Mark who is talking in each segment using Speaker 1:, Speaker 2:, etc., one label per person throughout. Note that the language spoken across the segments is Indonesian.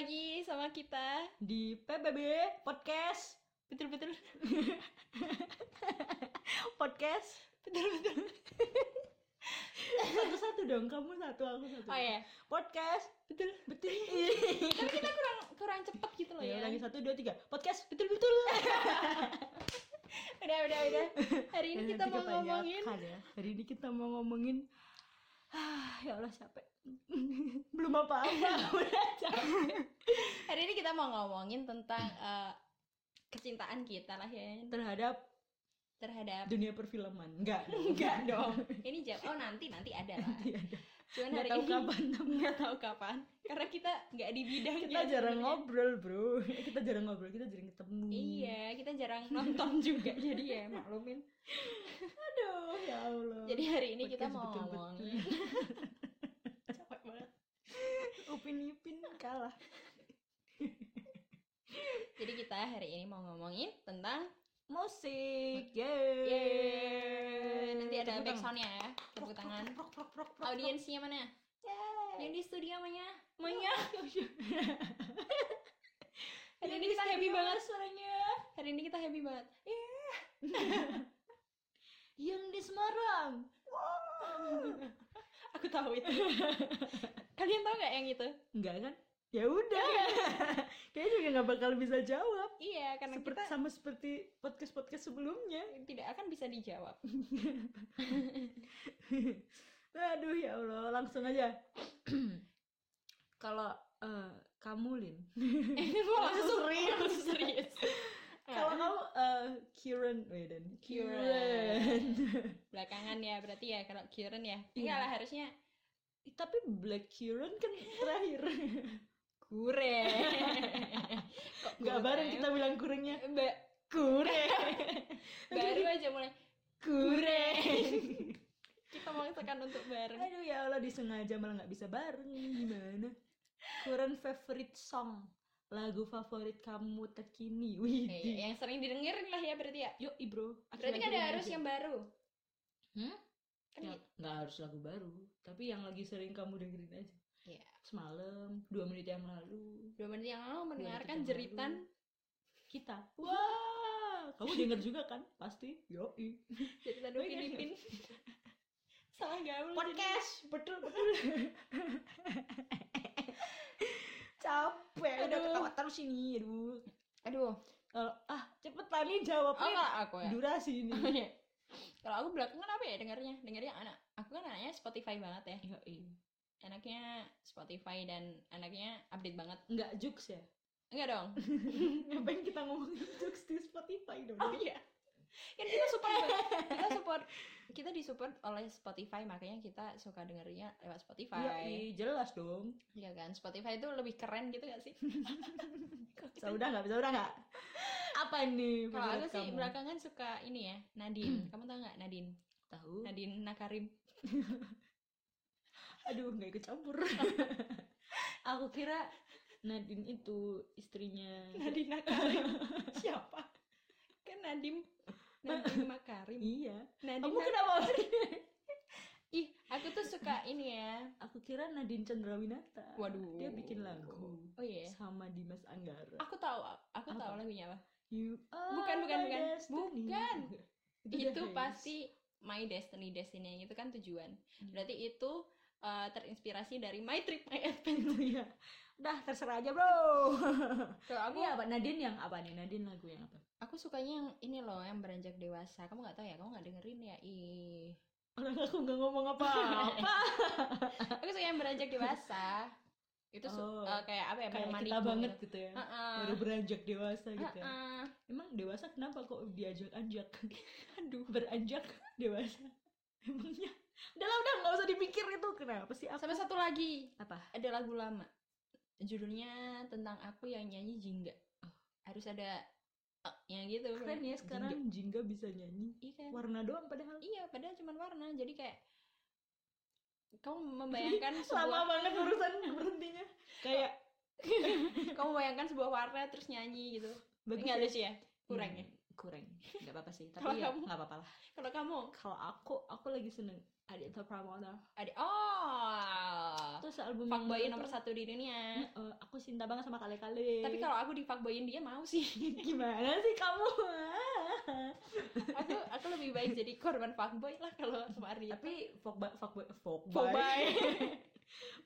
Speaker 1: bersama kita di PBB Podcast. Betul-betul. Podcast. Betul-betul. satu-satu dong, kamu satu, aku satu.
Speaker 2: Oh iya.
Speaker 1: Podcast. Betul. Betul.
Speaker 2: Tapi kita kurang kurang cepet gitu loh
Speaker 1: ya,
Speaker 2: ya.
Speaker 1: lagi satu, dua, tiga. Podcast. Betul-betul.
Speaker 2: Udah udah udah. Hari ini
Speaker 1: Dan
Speaker 2: kita
Speaker 1: nanti
Speaker 2: mau
Speaker 1: kebanyakan
Speaker 2: ngomongin
Speaker 1: ya. Hari ini kita mau ngomongin. Ah, ya Allah capek. Belum apa-apa. udah capek.
Speaker 2: hari ini kita mau ngomongin tentang eh, kecintaan kita lah ya
Speaker 1: Terhadap
Speaker 2: terhadap
Speaker 1: dunia perfilman. Enggak. dong.
Speaker 2: enggak dong. Ini jam oh nanti nanti ada lah.
Speaker 1: Nanti ada.
Speaker 2: Cuman
Speaker 1: Nggak
Speaker 2: hari
Speaker 1: tahu
Speaker 2: ini
Speaker 1: kapan,
Speaker 2: nggak tahu kapan. Karena kita nggak di bidang ya,
Speaker 1: kita jarang ngobrol bro kita jarang ngobrol kita jarang ketemu
Speaker 2: Iya, kita jarang nonton juga jadi ya maklumin.
Speaker 1: aduh ya allah
Speaker 2: Jadi hari ini kita
Speaker 1: Podcast
Speaker 2: mau
Speaker 1: betul-betul.
Speaker 2: ngomongin capek banget.
Speaker 1: upin ipin kalah
Speaker 2: Jadi kita hari ini mau ngomongin tentang
Speaker 1: musik yeay
Speaker 2: Yeay. Nanti ada
Speaker 1: Tepuk
Speaker 2: back
Speaker 1: tangan.
Speaker 2: soundnya ya Tepuk tangan
Speaker 1: prok prok prok prok
Speaker 2: Audiensnya mana? Yang di studio mana? Mana? Hari ini kita happy banget suaranya Hari ini kita happy banget
Speaker 1: yang di Semarang
Speaker 2: Aku tahu itu Kalian tahu nggak yang itu?
Speaker 1: enggak kan ya udah kayaknya juga nggak bakal bisa jawab
Speaker 2: Iya, karena
Speaker 1: seperti
Speaker 2: kita
Speaker 1: sama seperti podcast podcast sebelumnya
Speaker 2: tidak akan bisa dijawab
Speaker 1: aduh ya allah langsung aja kalau eh, kamu Lin
Speaker 2: Gua langsung
Speaker 1: serius.
Speaker 2: langsung serius
Speaker 1: Kalau
Speaker 2: Nah,
Speaker 1: kamu eh, Kieran Weden.
Speaker 2: Kieran. Belakangan ya berarti ya Kalau Kieran ya Enggak lah harusnya
Speaker 1: Ih, Tapi Black Kieran kan terakhir.
Speaker 2: Kure Kok
Speaker 1: Gak
Speaker 2: kure?
Speaker 1: bareng kita bilang kurangnya
Speaker 2: Mbak
Speaker 1: kure.
Speaker 2: baru aja mulai
Speaker 1: kure.
Speaker 2: kita memaksakan untuk bareng
Speaker 1: Aduh ya Allah disengaja malah nggak bisa bareng gimana? Kieran favorite song, lagu favorit kamu terkini. Wih.
Speaker 2: Eh, yang sering didengerin lah ya berarti ya
Speaker 1: Yuk ibro.
Speaker 2: berarti kan ada harus yang baru
Speaker 1: Hmm?
Speaker 2: kan
Speaker 1: Nggak, nggak harus lagu baru, tapi yang lagi sering kamu dengerin aja.
Speaker 2: Iya.
Speaker 1: Semalam, dua menit yang lalu.
Speaker 2: dua menit yang lalu
Speaker 1: Dua
Speaker 2: mendengarkan
Speaker 1: menit yang
Speaker 2: jeritan
Speaker 1: lalu. kita wah kamu denger juga kan pasti yoi
Speaker 2: jeritan
Speaker 1: Oh, iya.
Speaker 2: Upin Ipin salah gaul
Speaker 1: podcast betul betul capek udah
Speaker 2: Aduh.
Speaker 1: ketawa terus ini aduh
Speaker 2: jadi. aduh
Speaker 1: Kalau ah cepet tadi jawab
Speaker 2: oh kalau aku ya
Speaker 1: durasi ini
Speaker 2: Iya. kalau aku belakangan apa ya dengarnya dengarnya anak aku kan anaknya Spotify banget ya
Speaker 1: yoi
Speaker 2: anaknya Spotify dan anaknya update banget
Speaker 1: nggak jokes ya
Speaker 2: enggak dong
Speaker 1: ngapain kita ngomongin jokes di Ah, Spotify dong
Speaker 2: Oh iya. Kan kita support kita support kita disupport oleh Spotify makanya kita suka dengernya lewat Spotify.
Speaker 1: Yoi, jelas dong
Speaker 2: Iya kan? Spotify itu lebih keren gitu gak sih?
Speaker 1: bisa udah nggak bisa udah nggak apa ini
Speaker 2: Kalau aku
Speaker 1: menurut
Speaker 2: sih
Speaker 1: kamu?
Speaker 2: belakangan suka ini ya, Nadine. Kamu tau nggak Nadine?
Speaker 1: tahu
Speaker 2: Nadine Nakarim.
Speaker 1: Aduh, nggak ikut campur. Aku kira Nadine itu istrinya.
Speaker 2: Nadine Nakarim. Siapa? Kan Nadim Nadine Makarim.
Speaker 1: Iya.
Speaker 2: Nadine
Speaker 1: Kamu kenapa?
Speaker 2: Ih, aku tuh suka ini ya.
Speaker 1: Aku kira Nadine Chandrawinata.
Speaker 2: Waduh.
Speaker 1: Dia bikin lagu
Speaker 2: Oh iya.
Speaker 1: sama Dimas Anggara.
Speaker 2: Aku tahu, aku
Speaker 1: Apa?
Speaker 2: tahu lagunya apa.
Speaker 1: You are
Speaker 2: Bukan, bukan,
Speaker 1: my
Speaker 2: bukan.
Speaker 1: destiny.
Speaker 2: Bukan.
Speaker 1: dia
Speaker 2: itu
Speaker 1: Hayes.
Speaker 2: pasti my destiny destiny itu kan tujuan berarti itu uh, terinspirasi dari my trip my adventure
Speaker 1: Itu ya. Dah terserah aja bro.
Speaker 2: Tuh, aku
Speaker 1: Ini Iya, apa Nadine yang apa nih? Nadine lagu yang apa?
Speaker 2: aku sukanya yang ini loh yang beranjak dewasa kamu nggak tahu ya kamu nggak dengerin ya ih
Speaker 1: Orang aku nggak ngomong apa-apa.
Speaker 2: aku suka yang beranjak dewasa itu su-
Speaker 1: Oh,
Speaker 2: uh, kayak apa ya
Speaker 1: Kayak
Speaker 2: mandi
Speaker 1: kita banget gitu ya.
Speaker 2: Heeh.
Speaker 1: Baru beranjak dewasa gitu ya.
Speaker 2: Heeh.
Speaker 1: Emang dewasa kenapa kok diajak-anjak? Aduh, beranjak dewasa. Emangnya? Udah lah, udah nggak usah dipikir itu kenapa sih aku?
Speaker 2: sama satu lagi
Speaker 1: Apa?
Speaker 2: ada lagu lama judulnya tentang aku yang nyanyi jingga harus ada eh, yang gitu
Speaker 1: Keren ya sekarang Jingga bisa nyanyi.
Speaker 2: Jingga. Iya kan?
Speaker 1: Warna doang padahal.
Speaker 2: Iya, padahal cuma warna. Jadi kayak kamu membayangkan
Speaker 1: Lama
Speaker 2: sebuah
Speaker 1: banget urusan berhentinya. Kayak
Speaker 2: kamu membayangkan sebuah warna terus nyanyi gitu.
Speaker 1: bagus
Speaker 2: Enggak
Speaker 1: ya?
Speaker 2: lucu ya? Kurang ya.
Speaker 1: Hmm, kurang. Nggak apa-apa sih,
Speaker 2: Kalau
Speaker 1: tapi ya
Speaker 2: kamu-
Speaker 1: nggak apa-apa lah.
Speaker 2: Kalau kamu
Speaker 1: Kalau aku, aku lagi seneng Aditya Pramana
Speaker 2: Ada oh.
Speaker 1: terus album yang
Speaker 2: Fuckboy
Speaker 1: baru
Speaker 2: nomor
Speaker 1: tuh,
Speaker 2: satu di dunia.
Speaker 1: eh, aku cinta banget sama kale kale
Speaker 2: Tapi kalau aku di fuckboyin dia mau sih.
Speaker 1: gimana sih kamu
Speaker 2: aku aku lebih baik jadi korban fuckboy lah kalau sama Arya.
Speaker 1: tapi fuckboy fuckboy
Speaker 2: Fuckboy.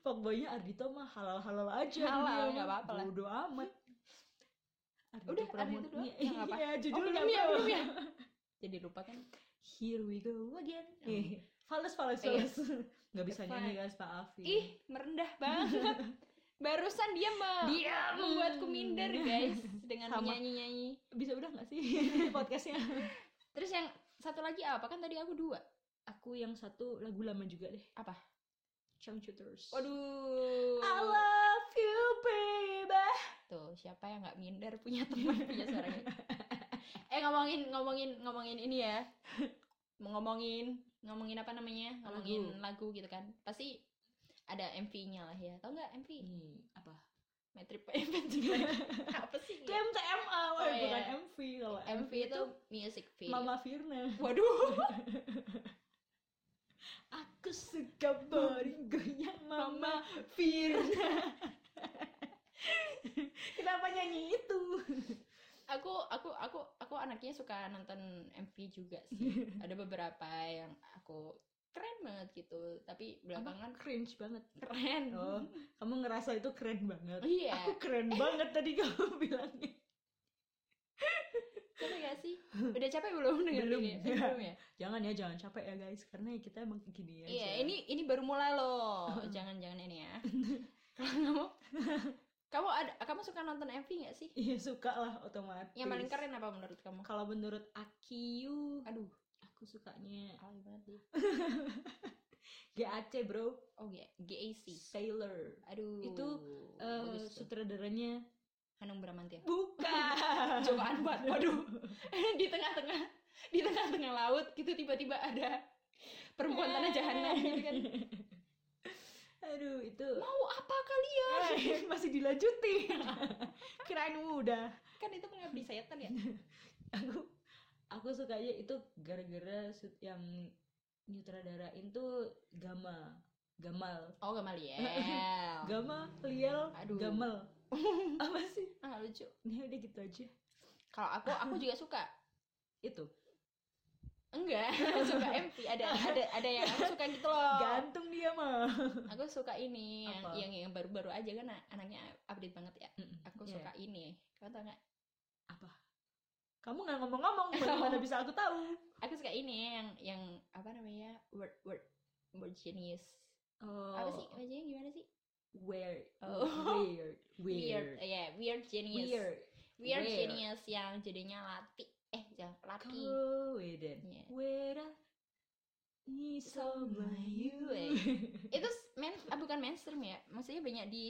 Speaker 1: fuckboynya Ardito mah halal halal aja
Speaker 2: Halal,
Speaker 1: dia
Speaker 2: nggak
Speaker 1: mah.
Speaker 2: apa-apa lah.
Speaker 1: bodo amat Ardhito
Speaker 2: Udah,
Speaker 1: Pramono-
Speaker 2: Ardhito doang?
Speaker 1: Iya,
Speaker 2: Ya, nggak apa.
Speaker 1: iya judul
Speaker 2: belum
Speaker 1: nggak
Speaker 2: ya,
Speaker 1: apa-apa.
Speaker 2: belum ya. Jadi lupa kan.
Speaker 1: here we go again
Speaker 2: Oh.
Speaker 1: Eh, fals fals
Speaker 2: Iya.
Speaker 1: fals nggak bisa nyanyi guys maafin
Speaker 2: Ih, merendah banget. Barusan dia mau
Speaker 1: Diam.
Speaker 2: membuatku minder, guys, dengan
Speaker 1: Sama.
Speaker 2: menyanyi-nyanyi.
Speaker 1: bisa udah nggak sih podcastnya
Speaker 2: Terus yang satu lagi apa? Kan tadi aku dua.
Speaker 1: aku yang satu lagu lama juga deh
Speaker 2: Apa?
Speaker 1: Changcuters
Speaker 2: Waduh.
Speaker 1: I love you baby
Speaker 2: Tuh, siapa yang nggak minder punya teman punya suaranya. eh ngomongin ngomongin ngomongin ini ya. ngomongin ngomongin apa namanya? Ngomongin lagu, gitu kan. Pasti ada MV-nya lah ya. Tahu nggak MV?
Speaker 1: ini apa
Speaker 2: Metrip Metrip. apa sih?
Speaker 1: itu MTMA wah,
Speaker 2: Oh, iya.
Speaker 1: Eh, bukan MV kalau
Speaker 2: MV itu music video.
Speaker 1: Mama Firna
Speaker 2: Waduh.
Speaker 1: aku suka baring goyang Mama
Speaker 2: Firna.
Speaker 1: kenapa nyanyi itu
Speaker 2: Aku aku aku aku anaknya suka nonton MV juga sih. Ada beberapa yang aku keren banget gitu, tapi belakangan
Speaker 1: cringe banget
Speaker 2: keren.
Speaker 1: oh kamu ngerasa itu keren banget
Speaker 2: Iya.
Speaker 1: aku keren banget tadi kamu bilangnya
Speaker 2: Capek gak sih? Udah capek belum dengan
Speaker 1: Belum.
Speaker 2: ini? Eh, belum ya?
Speaker 1: jangan ya jangan capek ya guys karena kita emang gini aja
Speaker 2: Iya, ini ini baru mulai loh. Jangan-jangan ini ya. Kalau kamu kamu ada kamu suka nonton MV gak sih?
Speaker 1: iya suka lah otomatis
Speaker 2: Yang paling keren apa menurut kamu?
Speaker 1: kalau menurut Akiyu
Speaker 2: Aduh,
Speaker 1: aku sukanya
Speaker 2: alay banget dia.
Speaker 1: GAC bro
Speaker 2: Oh, G- GAC.
Speaker 1: Sailor
Speaker 2: Aduh.
Speaker 1: Itu, Eh,
Speaker 2: bagus tuh.
Speaker 1: sutradaranya
Speaker 2: Hanung Bramantya.
Speaker 1: bukan
Speaker 2: Joko Anwar, waduh. di tengah-tengah di tengah-tengah laut gitu tiba-tiba ada perempuan
Speaker 1: Nah,
Speaker 2: tanah
Speaker 1: Eh,
Speaker 2: jahanam gitu kan
Speaker 1: aduh itu
Speaker 2: mau apa kalian
Speaker 1: kan. Eh, masih dilanjutin kirain udah
Speaker 2: kan itu mengabdi setan ya
Speaker 1: aku aku sukanya itu gara-gara sut- yang nyutradarain tuh Gama Gamal
Speaker 2: oh Gamaliel
Speaker 1: Gama Liel
Speaker 2: Aduh.
Speaker 1: Gamal apa sih
Speaker 2: ah lucu
Speaker 1: ini udah gitu aja
Speaker 2: kalau aku aku juga suka
Speaker 1: itu
Speaker 2: enggak suka MV ada ada ada yang aku suka gitu
Speaker 1: Oh.
Speaker 2: loh
Speaker 1: gantung dia mah
Speaker 2: aku suka ini yang
Speaker 1: Apa?
Speaker 2: yang yang baru-baru aja kan anaknya update banget ya aku
Speaker 1: Iya.
Speaker 2: suka ini kamu tau nggak
Speaker 1: kamu nggak ngomong-ngomong bagaimana bisa aku tahu
Speaker 2: aku suka ini yang yang apa namanya word word word genius apa sih wajahnya gimana sih
Speaker 1: Oh. weird
Speaker 2: Oh.
Speaker 1: weird
Speaker 2: weird,
Speaker 1: weird
Speaker 2: ya weird genius
Speaker 1: weird Weird.
Speaker 2: weird genius yang jadinya lati eh jangan lati
Speaker 1: Keweden
Speaker 2: Iya.
Speaker 1: Wera Ni sama you
Speaker 2: eh. itu s- men ah, bukan mainstream ya maksudnya banyak di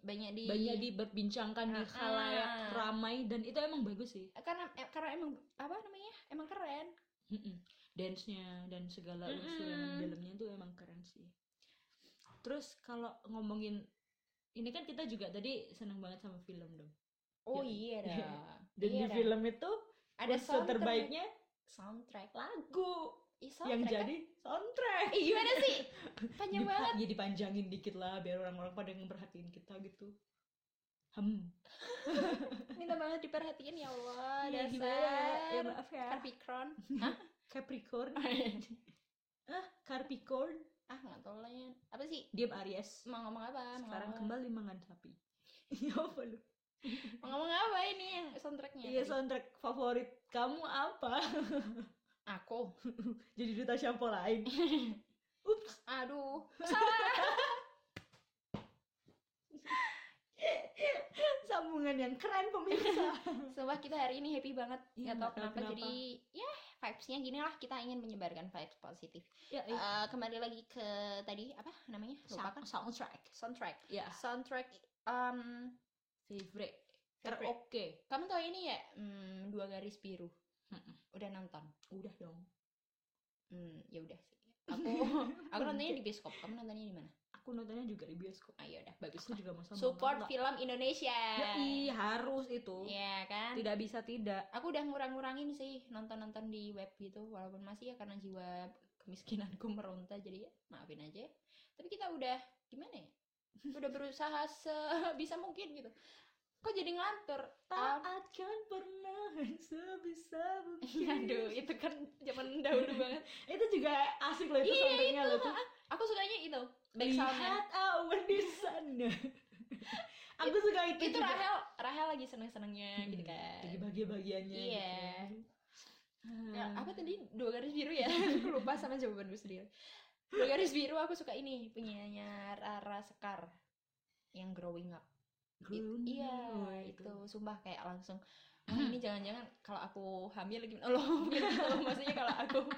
Speaker 2: banyak di
Speaker 1: banyak diperbincangkan di
Speaker 2: Ah, ah.
Speaker 1: khalayak ramai dan itu emang bagus sih
Speaker 2: karena eh, karena emang apa namanya emang keren
Speaker 1: Mm-mm. dance-nya dan segala unsur yang di
Speaker 2: Mm-mm.
Speaker 1: dalamnya itu emang keren sih terus kalau ngomongin ini kan kita juga tadi seneng banget sama film dong
Speaker 2: oh
Speaker 1: Ya,
Speaker 2: iya
Speaker 1: iya.
Speaker 2: dah
Speaker 1: dan
Speaker 2: Iya
Speaker 1: di
Speaker 2: dah.
Speaker 1: film itu
Speaker 2: ada
Speaker 1: unsur
Speaker 2: soundtrack
Speaker 1: terbaiknya
Speaker 2: soundtrack
Speaker 1: lagu
Speaker 2: Ih,
Speaker 1: yang
Speaker 2: soundtrack
Speaker 1: jadi soundtrack
Speaker 2: kan? Ih, gimana sih panjang
Speaker 1: Dipa-
Speaker 2: banget
Speaker 1: ya dipanjangin dikit lah biar orang-orang pada ngeperhatiin kita gitu hmm
Speaker 2: minta banget diperhatiin ya Allah
Speaker 1: Iya,
Speaker 2: dasar
Speaker 1: gimana ya? ya maaf ya
Speaker 2: Capricorn
Speaker 1: Capricorn ah Capricorn
Speaker 2: ah nggak tahu lah ya. apa sih
Speaker 1: diam Aries
Speaker 2: mau ngomong apa Mau
Speaker 1: sekarang
Speaker 2: ngomong-
Speaker 1: kembali menghantapi ya apa lu
Speaker 2: mau ngomong apa ini yang soundtracknya
Speaker 1: iya
Speaker 2: tadi?
Speaker 1: soundtrack favorit kamu apa
Speaker 2: aku
Speaker 1: jadi duta shampoo lain ups
Speaker 2: Aduh, salah.
Speaker 1: sambungan yang keren pemirsa
Speaker 2: Sumpah kita hari ini happy banget.
Speaker 1: Iya,
Speaker 2: Nggak tahu
Speaker 1: nggak tahu
Speaker 2: kenapa.
Speaker 1: kenapa.
Speaker 2: Jadi ya vibes-nya gini lah kita ingin menyebarkan vibes positif.
Speaker 1: ya eh,
Speaker 2: Eh, kembali lagi ke tadi apa namanya? Lupa kan? Ah.
Speaker 1: sound- soundtrack
Speaker 2: Soundtrack.
Speaker 1: ya
Speaker 2: Soundtrack um,
Speaker 1: favorite
Speaker 2: Favorite.
Speaker 1: karaoke
Speaker 2: kamu tahu ini ya? Hmm, dua garis biru.
Speaker 1: Mm-mm.
Speaker 2: Udah nonton?
Speaker 1: udah dong
Speaker 2: Hmm, ya udah sih. Aku aku nontonnya di bioskop. Kamu nontonnya di mana?
Speaker 1: aku nontonnya juga di bioskop
Speaker 2: Ah, ya udah, bagus.
Speaker 1: aku
Speaker 2: lah.
Speaker 1: juga mau sama
Speaker 2: Support film Indonesia.
Speaker 1: Yoi, harus itu
Speaker 2: Iya kan?
Speaker 1: tidak bisa tidak
Speaker 2: aku udah ngurang-ngurangin sih nonton-nonton di web gitu walaupun masih ya karena jiwa kemiskinanku meronta jadi ya, maafin aja ya. tapi kita udah gimana ya udah berusaha sebisa mungkin gitu kok jadi ngelantur
Speaker 1: tak akan pernah sebisa mungkin
Speaker 2: aduh itu kan zaman dahulu banget
Speaker 1: itu juga asik loh itu
Speaker 2: Iya,
Speaker 1: soundtracknya loh tuh
Speaker 2: ah, aku sukanya itu back soundnya
Speaker 1: lihat awan di sana aku suka itu
Speaker 2: itu
Speaker 1: juga.
Speaker 2: Rahel Rahel lagi seneng senengnya gitu
Speaker 1: Hmm,
Speaker 2: kan
Speaker 1: lagi bahagia-bahagianya
Speaker 2: Iya.
Speaker 1: gitu.
Speaker 2: Ya,
Speaker 1: Hmm.
Speaker 2: apa tadi dua garis biru ya aku lupa sama jawabanku sendiri dua garis biru aku suka ini penyanyinya Rara Sekar yang growing up I-
Speaker 1: Grown
Speaker 2: iya
Speaker 1: up, oh,
Speaker 2: itu. Hmm. sumpah kayak langsung "Wah, ini jangan-jangan kalau aku hamil lagi oh, loh hamil gitu loh. maksudnya kalau aku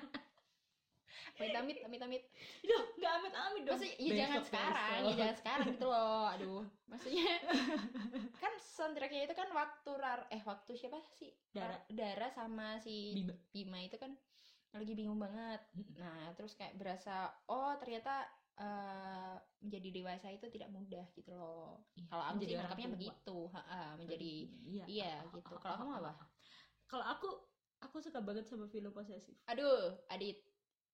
Speaker 2: amit amit amit amit
Speaker 1: Duh, nggak amit-amit dong
Speaker 2: maksudnya ya jangan
Speaker 1: Besok,
Speaker 2: sekarang ya
Speaker 1: besok.
Speaker 2: jangan sekarang gitu loh aduh maksudnya kan soundtracknya itu kan waktu Rar- eh waktu siapa sih
Speaker 1: Dara.
Speaker 2: Rar- Dara sama si
Speaker 1: Bima.
Speaker 2: Bima itu kan lagi bingung banget
Speaker 1: Mm-mm.
Speaker 2: nah terus kayak berasa oh ternyata eh, menjadi dewasa itu tidak mudah gitu loh
Speaker 1: Iya,
Speaker 2: kalau aku
Speaker 1: menjadi
Speaker 2: sih
Speaker 1: orang
Speaker 2: nangkepnya
Speaker 1: tua.
Speaker 2: begitu ha-ha, menjadi
Speaker 1: iya
Speaker 2: iya gitu kalau kamu apa
Speaker 1: kalau aku aku suka banget sama film posesif
Speaker 2: aduh adit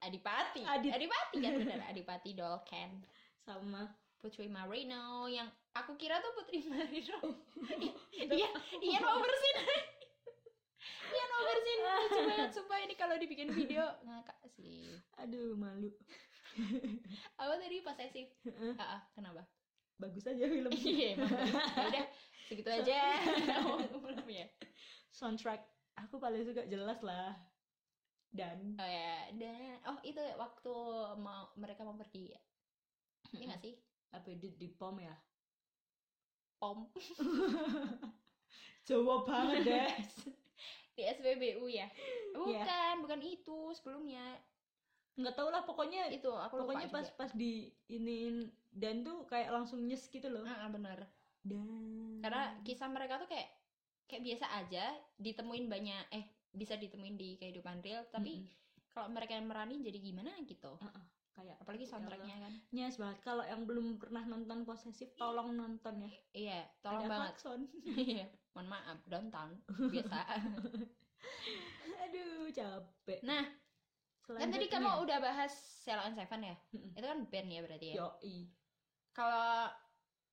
Speaker 2: adipati
Speaker 1: Adit.
Speaker 2: adipati kan benar adipati dolken
Speaker 1: sama
Speaker 2: Putri Marino yang aku kira tuh Putri Marino iya iya mau bersin iya mau bersin lucu banget sumpah ini kalau dibikin video ngakak sih
Speaker 1: aduh malu
Speaker 2: apa tadi posesif ah, ah, kenapa
Speaker 1: bagus aja film
Speaker 2: iya emang bagus. udah segitu aja belum ya
Speaker 1: soundtrack aku paling suka jelas lah dan
Speaker 2: oh ya dan oh itu waktu mau mereka mau pergi ya iya nggak sih
Speaker 1: apa di, di pom ya
Speaker 2: pom
Speaker 1: Jawa banget deh
Speaker 2: di SBBU ya
Speaker 1: Iya.
Speaker 2: bukan bukan itu sebelumnya
Speaker 1: nggak tau lah pokoknya
Speaker 2: itu aku lupa
Speaker 1: pokoknya pas
Speaker 2: juga.
Speaker 1: pas di iniin dan tuh kayak langsung nyes gitu loh
Speaker 2: Ah, ah, benar
Speaker 1: dan
Speaker 2: karena kisah mereka tuh kayak kayak biasa aja ditemuin banyak eh bisa ditemuin di kehidupan real tapi
Speaker 1: Mm-mm.
Speaker 2: kalau mereka yang merani jadi gimana gitu
Speaker 1: kayak
Speaker 2: apalagi
Speaker 1: Ya Allah.
Speaker 2: soundtracknya kan
Speaker 1: nyes banget kalau yang belum pernah nonton posesif tolong nonton ya
Speaker 2: iya tolong
Speaker 1: Ada
Speaker 2: banget
Speaker 1: klakson.
Speaker 2: iya mohon maaf downtown biasa
Speaker 1: aduh capek
Speaker 2: nah kan tadi
Speaker 1: ya.
Speaker 2: kamu udah bahas Sheila and Seven ya
Speaker 1: Mm-mm.
Speaker 2: itu kan band ya berarti ya
Speaker 1: yoi
Speaker 2: kalau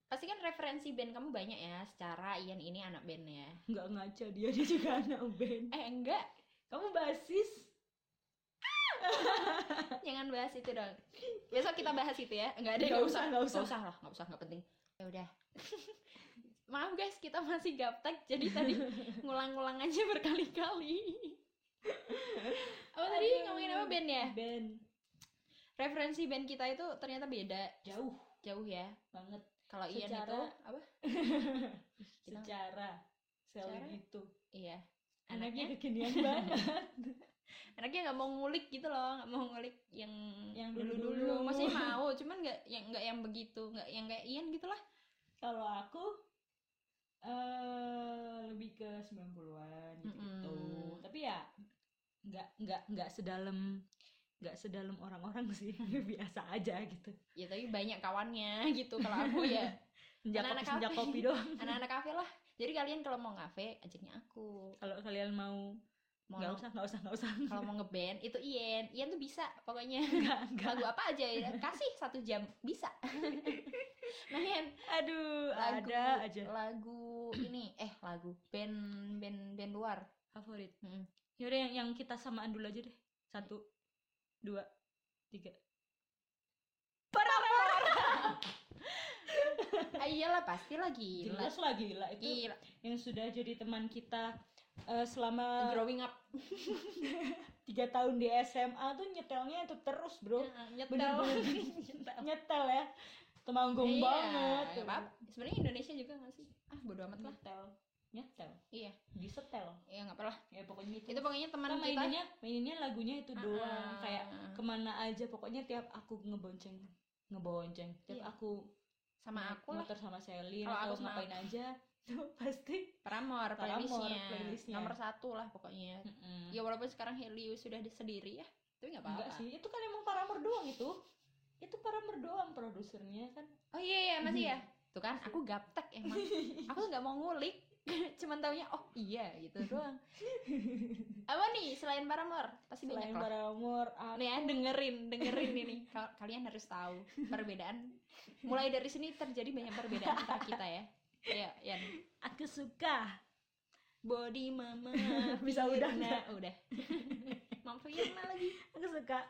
Speaker 2: pasti kan referensi band kamu banyak ya secara Ian ini anak band ya
Speaker 1: nggak ngaca dia dia juga anak band
Speaker 2: eh enggak
Speaker 1: kamu basis
Speaker 2: jangan Ya kan, bahas itu dong besok kita bahas itu ya nggak ada
Speaker 1: Nggak usah, nggak usah.
Speaker 2: nggak usah lah nggak usah nggak penting ya udah maaf guys kita masih gaptek jadi tadi ngulang-ngulang aja berkali-kali oh tadi
Speaker 1: Aduh.
Speaker 2: ngomongin apa band ya
Speaker 1: band
Speaker 2: referensi band kita itu ternyata beda
Speaker 1: jauh
Speaker 2: jauh ya
Speaker 1: banget
Speaker 2: kalau Ian
Speaker 1: Secara-
Speaker 2: itu apa Kita-
Speaker 1: secara sel
Speaker 2: Secara?
Speaker 1: gitu
Speaker 2: iya
Speaker 1: anaknya
Speaker 2: anaknya
Speaker 1: kekinian banget
Speaker 2: anaknya nggak mau ngulik gitu loh nggak mau ngulik yang
Speaker 1: Yang
Speaker 2: dulu-dulu
Speaker 1: dulu-dulu.
Speaker 2: masih mau cuman nggak yang nggak yang begitu nggak yang kayak Ian gitu lah
Speaker 1: kalau aku eh lebih ke 90-an gitu,
Speaker 2: Mm-mm.
Speaker 1: tapi ya nggak nggak nggak sedalam nggak sedalam orang-orang sih biasa aja gitu
Speaker 2: ya tapi banyak kawannya gitu kalau aku ya
Speaker 1: senja kopi
Speaker 2: Anak-anak
Speaker 1: senja
Speaker 2: kafe.
Speaker 1: kopi doang
Speaker 2: anak-anak kafe lah jadi kalian kalau mau ngafe ajaknya aku
Speaker 1: kalau kalian mau
Speaker 2: mau
Speaker 1: nggak usah nggak usah nggak usah
Speaker 2: kalau mau ngeband itu Ian Ian tuh bisa pokoknya
Speaker 1: nggak nggak
Speaker 2: lagu apa aja ya kasih satu jam bisa nah Ian
Speaker 1: aduh
Speaker 2: lagu
Speaker 1: ada aja
Speaker 2: lagu ini eh lagu band band band luar
Speaker 1: favorit
Speaker 2: Mm-mm.
Speaker 1: yaudah yang yang kita samaan dulu aja deh satu dua tiga
Speaker 2: ah, iyalah pasti lagi
Speaker 1: jelas lah gila itu
Speaker 2: gila
Speaker 1: yang sudah jadi teman kita eh, selama
Speaker 2: growing up
Speaker 1: tiga tahun di SMA tuh nyetelnya itu terus bro
Speaker 2: nyetel
Speaker 1: bener-bener nyetel ya temanggung
Speaker 2: Iya,
Speaker 1: banget
Speaker 2: nggak apa-apa. sebenarnya Indonesia juga nggak sih ah bodo amat lah
Speaker 1: nyetel nyetel
Speaker 2: Iya.
Speaker 1: disetel
Speaker 2: ya nggak apa lah
Speaker 1: ya pokoknya itu
Speaker 2: itu pokoknya teman
Speaker 1: Kita
Speaker 2: kita
Speaker 1: maininnya maininnya lagunya itu doang
Speaker 2: Ah.
Speaker 1: kayak kemana aja pokoknya tiap aku ngebonceng ngebonceng tiap
Speaker 2: Iya.
Speaker 1: aku
Speaker 2: sama
Speaker 1: naik
Speaker 2: aku lah
Speaker 1: motor sama Selin
Speaker 2: Kalau
Speaker 1: atau
Speaker 2: aku sama
Speaker 1: ngapain aja tuh pasti
Speaker 2: Paramore,
Speaker 1: Paramore,
Speaker 2: playlistnya.
Speaker 1: playlistnya.
Speaker 2: nomor satu lah pokoknya
Speaker 1: Mm-mm.
Speaker 2: ya walaupun sekarang Helios sudah di- sendiri ya tapi nggak
Speaker 1: enggak
Speaker 2: apa-apa
Speaker 1: sih itu kan emang Paramore doang itu itu Paramore doang produsernya kan
Speaker 2: oh iya iya masih ya tuh kan aku gaptek emang aku tuh nggak mau ngulik cuman taunya oh iya gitu doang apa apa nih selain Paramore? Pasti
Speaker 1: Selain
Speaker 2: banyak lah.
Speaker 1: Paramore,
Speaker 2: Nih ya, dengerin, dengerin ini. Ka- Kalian harus tahu perbedaan. Mulai dari sini terjadi banyak perbedaan antara kita ya. Ya, Yan.
Speaker 1: aku suka.
Speaker 2: Body mama.
Speaker 1: Bisa udah,
Speaker 2: Nah, udah. Mama Firna lagi.
Speaker 1: Aku suka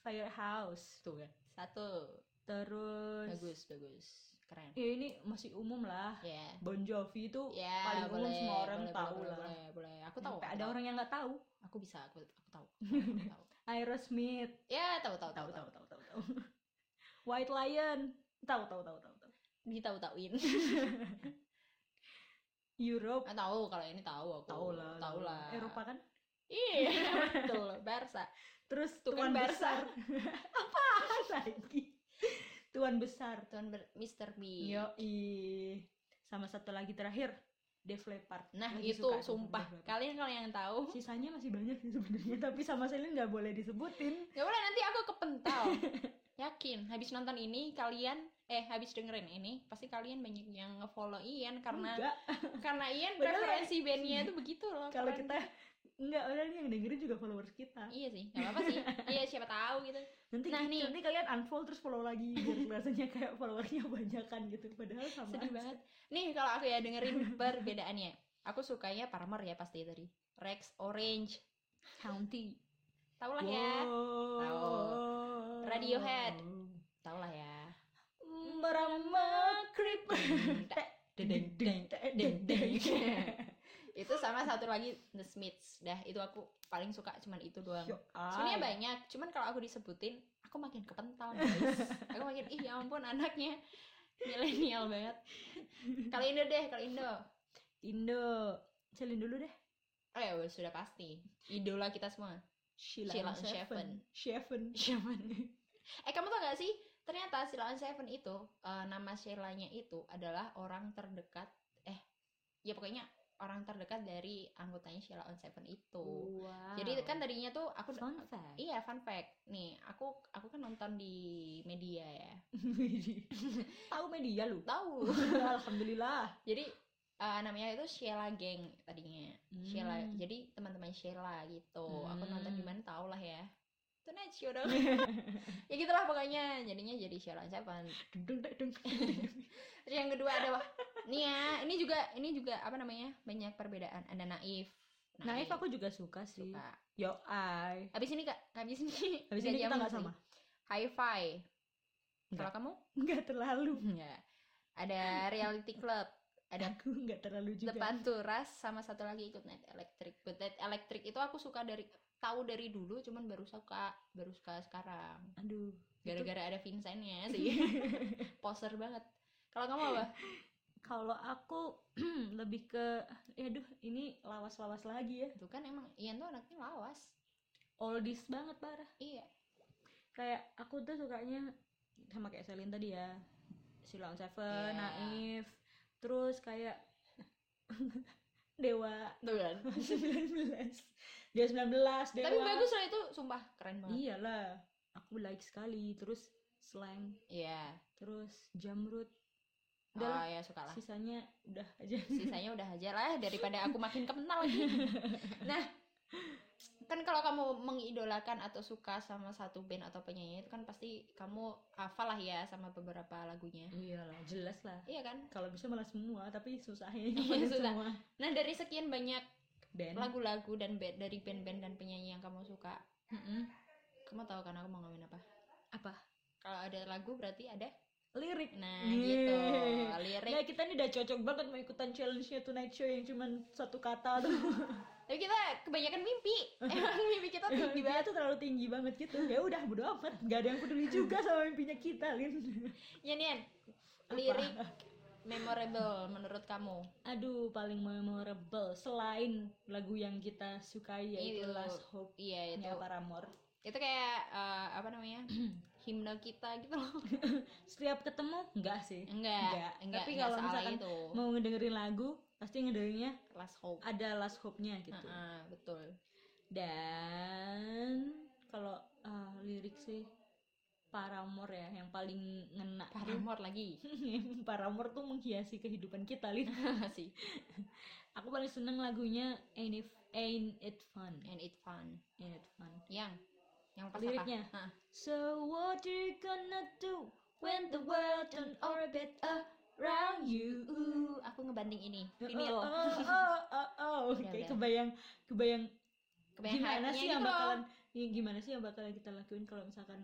Speaker 1: Firehouse tuh kan.
Speaker 2: Satu.
Speaker 1: Terus
Speaker 2: Bagus, bagus. Keren.
Speaker 1: Ya ini masih umum lah.
Speaker 2: Ya.
Speaker 1: Bon Jovi itu
Speaker 2: Ya,
Speaker 1: paling umum
Speaker 2: boleh,
Speaker 1: semua orang
Speaker 2: boleh,
Speaker 1: tahu
Speaker 2: boleh,
Speaker 1: lah.
Speaker 2: Boleh, boleh. Aku tahu.
Speaker 1: Sampai
Speaker 2: aku
Speaker 1: ada
Speaker 2: tahu.
Speaker 1: orang yang nggak tahu.
Speaker 2: aku bisa, aku aku tahu. Aku tahu.
Speaker 1: Aerosmith,
Speaker 2: Ya, tahu tahu
Speaker 1: tahu tahu tahu tahu tahu. White Lion, tahu tahu tahu tahu tahu.
Speaker 2: Ditahu-tahuin.
Speaker 1: Europe,
Speaker 2: Nah, tahu kalau ini tahu aku.
Speaker 1: tahu lah.
Speaker 2: Tahu lah.
Speaker 1: Eropa kan.
Speaker 2: Iya, betul. Barca.
Speaker 1: Terus
Speaker 2: Tuh
Speaker 1: Tuan
Speaker 2: kan
Speaker 1: besar.
Speaker 2: Barca.
Speaker 1: Apaan lagi? Tuan besar.
Speaker 2: Tuan Ber- Mr. B.
Speaker 1: Yo Sama satu lagi terakhir, Def Leppard.
Speaker 2: Nah,
Speaker 1: Lagi
Speaker 2: itu
Speaker 1: suka aku sama
Speaker 2: sumpah.
Speaker 1: Def Leppard.
Speaker 2: Kalian kalau yang tahu,
Speaker 1: Sisanya masih banyak sih sebenarnya, tapi sama Celine nggak boleh disebutin.
Speaker 2: nggak boleh ya nanti aku kepental. Yakin, habis nonton ini kalian eh habis dengerin ini pasti kalian banyak yang ngefollow Ian karena
Speaker 1: Enggak.
Speaker 2: karena Ian
Speaker 1: Beneran.
Speaker 2: preferensi bandnya itu begitu loh.
Speaker 1: kalau
Speaker 2: keren.
Speaker 1: kita nggak orang yang dengerin juga followers kita
Speaker 2: iya sih, nggak apa-apa sih. Iya siapa tahu gitu.
Speaker 1: nanti
Speaker 2: Nah, nih.
Speaker 1: nanti kalian unfollow terus follow lagi biar rasanya kayak followernya banyakan gitu padahal sama
Speaker 2: Sedih
Speaker 1: aja.
Speaker 2: banget. Nih kalau aku ya dengerin perbedaannya. Aku sukanya Paramore ya pasti tadi. Rex Orange County. Tahu lah ya.
Speaker 1: Wow.
Speaker 2: Tahu. Radiohead. Tahu lah ya.
Speaker 1: merama creep
Speaker 2: Deng, deng,
Speaker 1: deng deng
Speaker 2: itu sama satu lagi The Smiths. Dah itu aku paling suka cuman itu doang.
Speaker 1: Yo, ah. ay.
Speaker 2: Sebenarnya banyak, cuman kalau aku disebutin, aku makin kepental guys. aku makin ih ya ampun anaknya milenial banget. Kalau Indo deh, kalau Indo.
Speaker 1: Indo Celin dulu deh
Speaker 2: Oh ya, sudah pasti. Idola kita semua.
Speaker 1: Sheila,
Speaker 2: Sheila
Speaker 1: on
Speaker 2: on Seven.
Speaker 1: Seven
Speaker 2: Syaman. eh kamu tau gak sih? Ternyata Sheila on Seven itu eh, nama Sheila-nya itu adalah orang terdekat eh ya pokoknya orang terdekat dari anggotanya Sheila on Seven itu.
Speaker 1: wow.
Speaker 2: Jadi kan tadinya tuh aku
Speaker 1: fun fact
Speaker 2: Iya, fun fact. Nih, aku aku kan nonton di media ya.
Speaker 1: tahu media lu
Speaker 2: Tahu.
Speaker 1: alhamdulillah
Speaker 2: Jadi eh, namanya itu Sheila Gang tadinya. Sheila.
Speaker 1: Hmm.
Speaker 2: Jadi teman-teman Sheila gitu. Aku nonton di
Speaker 1: Hmm.
Speaker 2: mana tau lah ya. Itu Nacho dong. ya gitulah pokoknya. Jadinya jadi Sheila on Seven.
Speaker 1: Dung, dung, dek, dung, dek, dung.
Speaker 2: Terus yang kedua ada wah. Nih ya, ini juga ini juga apa namanya? Banyak perbedaan. Ada Naif.
Speaker 1: Naif Nah, aku juga suka sih.
Speaker 2: suka.
Speaker 1: Yo I.
Speaker 2: Habis ini Kak, habis ini.
Speaker 1: Habis ini kita
Speaker 2: jamin
Speaker 1: nggak
Speaker 2: sih.
Speaker 1: sama.
Speaker 2: Hi-fi. Kalau
Speaker 1: Enggak.
Speaker 2: kamu?
Speaker 1: Nggak terlalu.
Speaker 2: Enggak. Ada reality club, ada
Speaker 1: Aku nggak terlalu juga.
Speaker 2: The Panturas sama satu lagi ikut Night Electric. But Night Electric itu aku suka dari tahu dari dulu cuman baru suka baru suka sekarang.
Speaker 1: Aduh.
Speaker 2: Gara-gara ada Vincentnya ya, sih. Poser banget. Kalau kamu apa?
Speaker 1: Kalau aku lebih ke, eh, aduh ini lawas-lawas lagi ya.
Speaker 2: Itu kan emang Ian tuh anaknya lawas.
Speaker 1: Oldies banget parah.
Speaker 2: Iya.
Speaker 1: Kayak aku tuh sukanya sama kayak Selin tadi ya. Silon Seven,
Speaker 2: Iya.
Speaker 1: Naif. Terus kayak Dewa
Speaker 2: Tuh kan.
Speaker 1: 19. Dewa 19, Dewa.
Speaker 2: Tapi bagus loh itu, sumpah keren banget.
Speaker 1: Iyalah. Aku like sekali. Terus slang
Speaker 2: Iya.
Speaker 1: terus jamrut
Speaker 2: Oh
Speaker 1: udah lah,
Speaker 2: ya suka lah.
Speaker 1: sisanya udah aja
Speaker 2: sisanya udah aja lah daripada aku makin kenal lagi nah kan kalau kamu mengidolakan atau suka sama satu band atau penyanyi itu kan pasti kamu hafal lah ya sama beberapa lagunya
Speaker 1: iyalah jelas lah
Speaker 2: iya kan
Speaker 1: kalau bisa malah semua tapi susahnya
Speaker 2: Iya,
Speaker 1: nyampein
Speaker 2: susah.
Speaker 1: semua
Speaker 2: nah dari sekian banyak
Speaker 1: band
Speaker 2: lagu-lagu dan ba- dari band-band dan penyanyi yang kamu suka
Speaker 1: Mm-mm.
Speaker 2: kamu tahu kan aku mau ngomongin apa
Speaker 1: Apa?
Speaker 2: kalau ada lagu berarti ada
Speaker 1: lirik Iya.
Speaker 2: nah
Speaker 1: Yeay.
Speaker 2: gitu
Speaker 1: ya
Speaker 2: lirik
Speaker 1: kita ini udah cocok banget mau ikutan challenge-nya Tonight Show yang cuman satu kata tuh
Speaker 2: tapi kita kebanyakan mimpi emang mimpi kita tinggi banget
Speaker 1: mimpinya tuh terlalu tinggi banget gitu ya udah bodo amat gak ada yang peduli juga sama mimpinya kita Lin
Speaker 2: ya Nian
Speaker 1: Apa?
Speaker 2: lirik memorable menurut kamu
Speaker 1: aduh paling memorable selain lagu yang kita sukai yaitu
Speaker 2: Itu.
Speaker 1: Last Hope
Speaker 2: Iya itu.
Speaker 1: nya Paramore
Speaker 2: Itu kayak eh, apa namanya? himne kita gitu loh.
Speaker 1: setiap ketemu enggak sih Enggak.
Speaker 2: Enggak, enggak.
Speaker 1: Tapi
Speaker 2: enggak
Speaker 1: kalau
Speaker 2: salah
Speaker 1: misalkan
Speaker 2: itu
Speaker 1: mau ngedengerin lagu pasti ngedengerinnya
Speaker 2: last hope.
Speaker 1: ada last hope-nya gitu
Speaker 2: Heeh, betul.
Speaker 1: dan kalau ah, lirik sih Paramore ya yang paling ngena
Speaker 2: Paramore lagi
Speaker 1: Paramore tuh menghiasi kehidupan kita Lin
Speaker 2: sih
Speaker 1: aku paling seneng lagunya Ain't It, Ain't It Fun
Speaker 2: and it fun
Speaker 1: Ain't It Fun
Speaker 2: yang yang pas
Speaker 1: Liriknya.
Speaker 2: apa? Hah.
Speaker 1: So what you gonna do when the world on orbit around you?
Speaker 2: Uh, aku ngebanting ini ya,
Speaker 1: Ini
Speaker 2: vinil
Speaker 1: oh oh oh, oh, oh.
Speaker 2: Udah,
Speaker 1: Kayak
Speaker 2: udah.
Speaker 1: kebayang kebayang
Speaker 2: Kebayang
Speaker 1: gimana
Speaker 2: hype-nya
Speaker 1: sih
Speaker 2: gitu
Speaker 1: yang
Speaker 2: loh.
Speaker 1: bakalan ya, gimana sih yang bakalan kita lakuin kalau misalkan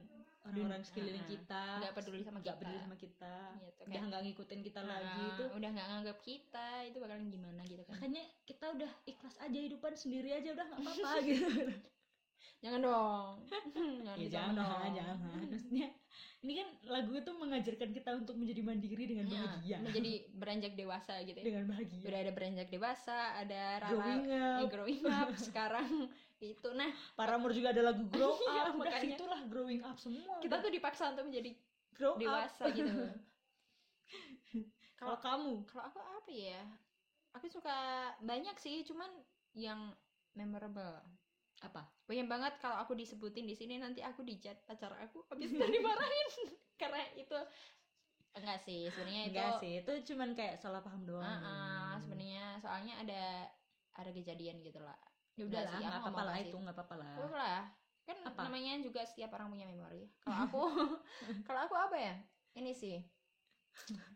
Speaker 1: orang-orang
Speaker 2: Dun-
Speaker 1: sekeliling
Speaker 2: ah,
Speaker 1: kita
Speaker 2: nggak peduli sama
Speaker 1: nggak
Speaker 2: kita.
Speaker 1: peduli sama kita
Speaker 2: Gitu,
Speaker 1: udah
Speaker 2: kayak,
Speaker 1: nggak ngikutin kita lagi
Speaker 2: ah,
Speaker 1: itu
Speaker 2: udah nggak nganggap kita itu bakalan gimana gitu kan
Speaker 1: makanya kita udah ikhlas aja hidupan sendiri aja udah nggak apa-apa gitu
Speaker 2: jangan dong jangan
Speaker 1: ya
Speaker 2: gitu
Speaker 1: jangan
Speaker 2: dong. Hmm.
Speaker 1: lah, jangan maksudnya ini kan lagu itu mengajarkan kita untuk menjadi mandiri dengan
Speaker 2: Ya,
Speaker 1: bahagia
Speaker 2: menjadi beranjak dewasa gitu ya
Speaker 1: dengan bahagia
Speaker 2: udah ada beranjak dewasa ada rara
Speaker 1: Iya. growing
Speaker 2: eh,
Speaker 1: up
Speaker 2: growing up sekarang itu nah
Speaker 1: Paramore juga ada lagu grow up
Speaker 2: Iya,
Speaker 1: udah
Speaker 2: makanya.
Speaker 1: situlah growing up semua
Speaker 2: kita
Speaker 1: udah
Speaker 2: tuh dipaksa untuk menjadi
Speaker 1: grow up
Speaker 2: dewasa gitu
Speaker 1: kalau kamu
Speaker 2: kalau aku apa ya aku suka banyak sih cuman yang memorable
Speaker 1: apa
Speaker 2: banyak banget kalau aku disebutin di sini nanti aku dijat pacar aku habis itu dimarahin karena itu enggak sih sebenarnya itu
Speaker 1: enggak sih itu cuman kayak salah paham doang
Speaker 2: Ah, ah, sebenarnya soalnya ada ada kejadian gitu lah
Speaker 1: ya udah
Speaker 2: Enggak
Speaker 1: lah
Speaker 2: sih, aku
Speaker 1: nggak apa-apa
Speaker 2: ngomong
Speaker 1: lah
Speaker 2: enggak
Speaker 1: itu nggak apa-apa lah
Speaker 2: Wah lah kan
Speaker 1: Apa?
Speaker 2: namanya juga setiap orang punya memori kalau aku kalau aku apa ya ini sih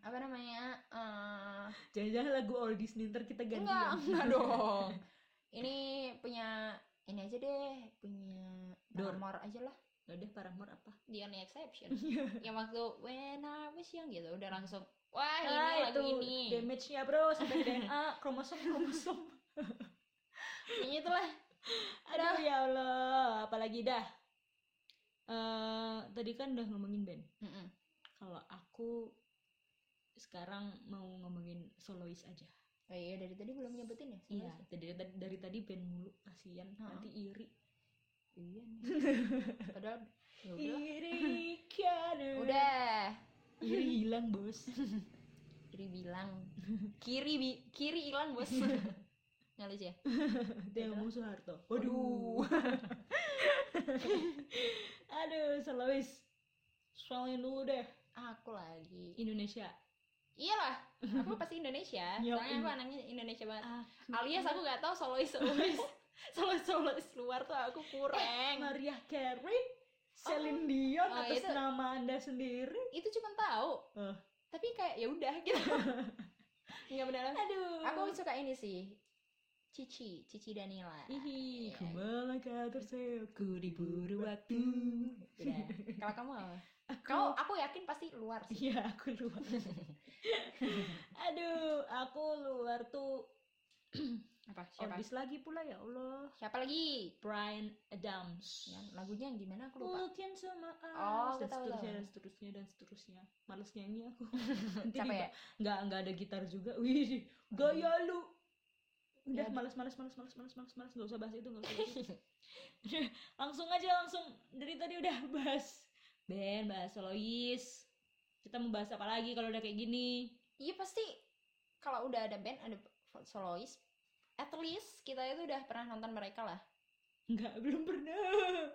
Speaker 2: apa namanya eh,
Speaker 1: jangan-jangan lagu all Disney ntar kita ganti ya.
Speaker 2: enggak enggak dong gitu. ini punya ini aja deh punya
Speaker 1: Dor.
Speaker 2: Paramore aja lah
Speaker 1: Ya udah Paramore apa
Speaker 2: The Only Exception yang waktu when I was young gitu udah langsung wah Eh, ini
Speaker 1: ah, itu
Speaker 2: lagu ini
Speaker 1: damage-nya bro sampai DNA kromosom kromosom
Speaker 2: ini itulah
Speaker 1: aduh ya Allah apalagi dah Eh, tadi kan udah ngomongin band
Speaker 2: Mm-mm.
Speaker 1: kalau aku sekarang mau ngomongin solois aja
Speaker 2: oh iya dari tadi belum nyebutin ya
Speaker 1: Iya,
Speaker 2: sebenarnya?
Speaker 1: dari, dari, dari tadi band mulu kasihan
Speaker 2: Ha-ha.
Speaker 1: nanti iri.
Speaker 2: iya nih. padahal ya udah
Speaker 1: Iri karena
Speaker 2: udah
Speaker 1: iri hilang, Bos.
Speaker 2: kiri bilang kiri bi- kiri hilang bos ngalus ya
Speaker 1: Dia ngomong Soeharto.
Speaker 2: Waduh.
Speaker 1: Waduh. Aduh, Sulawesi. Soalin dulu deh
Speaker 2: aku lagi
Speaker 1: Indonesia.
Speaker 2: iyalah aku pasti Indonesia
Speaker 1: Ya,
Speaker 2: soalnya aku
Speaker 1: iya.
Speaker 2: anaknya Indonesia banget
Speaker 1: Aku
Speaker 2: alias aku nggak tahu solois solois solois solois luar tuh aku kurang
Speaker 1: Maria Carey, Celine Dion
Speaker 2: Oh,
Speaker 1: atas
Speaker 2: itu-
Speaker 1: nama Anda sendiri.
Speaker 2: itu cuma tahu
Speaker 1: Eh.
Speaker 2: tapi kayak ya udah gitu nggak benar
Speaker 1: Aduh.
Speaker 2: aku suka ini sih Cici Cici Danila
Speaker 1: Ihi,
Speaker 2: Iya.
Speaker 1: ku melangkah terseok, ku diburu waktu. Iya.
Speaker 2: Udah. Iya. kalau kamu apa? kau aku yakin pasti luar sih
Speaker 1: Iya, aku luar. Aduh, aku luar tuh
Speaker 2: apa siapa
Speaker 1: Orbis lagi pula ya Allah.
Speaker 2: siapa lagi
Speaker 1: Brian Adams.
Speaker 2: Ya, lagunya yang gimana aku lupa
Speaker 1: Look into my eyes dan
Speaker 2: Oh, aku tahu,
Speaker 1: seterusnya
Speaker 2: tahu.
Speaker 1: dan seterusnya dan seterusnya. Males nyanyi aku.
Speaker 2: capek ya
Speaker 1: Enggak enggak ada gitar juga. Wih, gaya Eh, lu. Udah
Speaker 2: Ya.
Speaker 1: males males males males males males males enggak usah bahas itu enggak usah. bahas itu. Udah, langsung aja langsung dari tadi udah bahas Ben, bahas Solois. Kita mau bahas apa lagi kalau udah kayak gini?
Speaker 2: iya pasti kalau udah ada band ada solois at least kita itu udah pernah nonton mereka lah
Speaker 1: Enggak, belum pernah.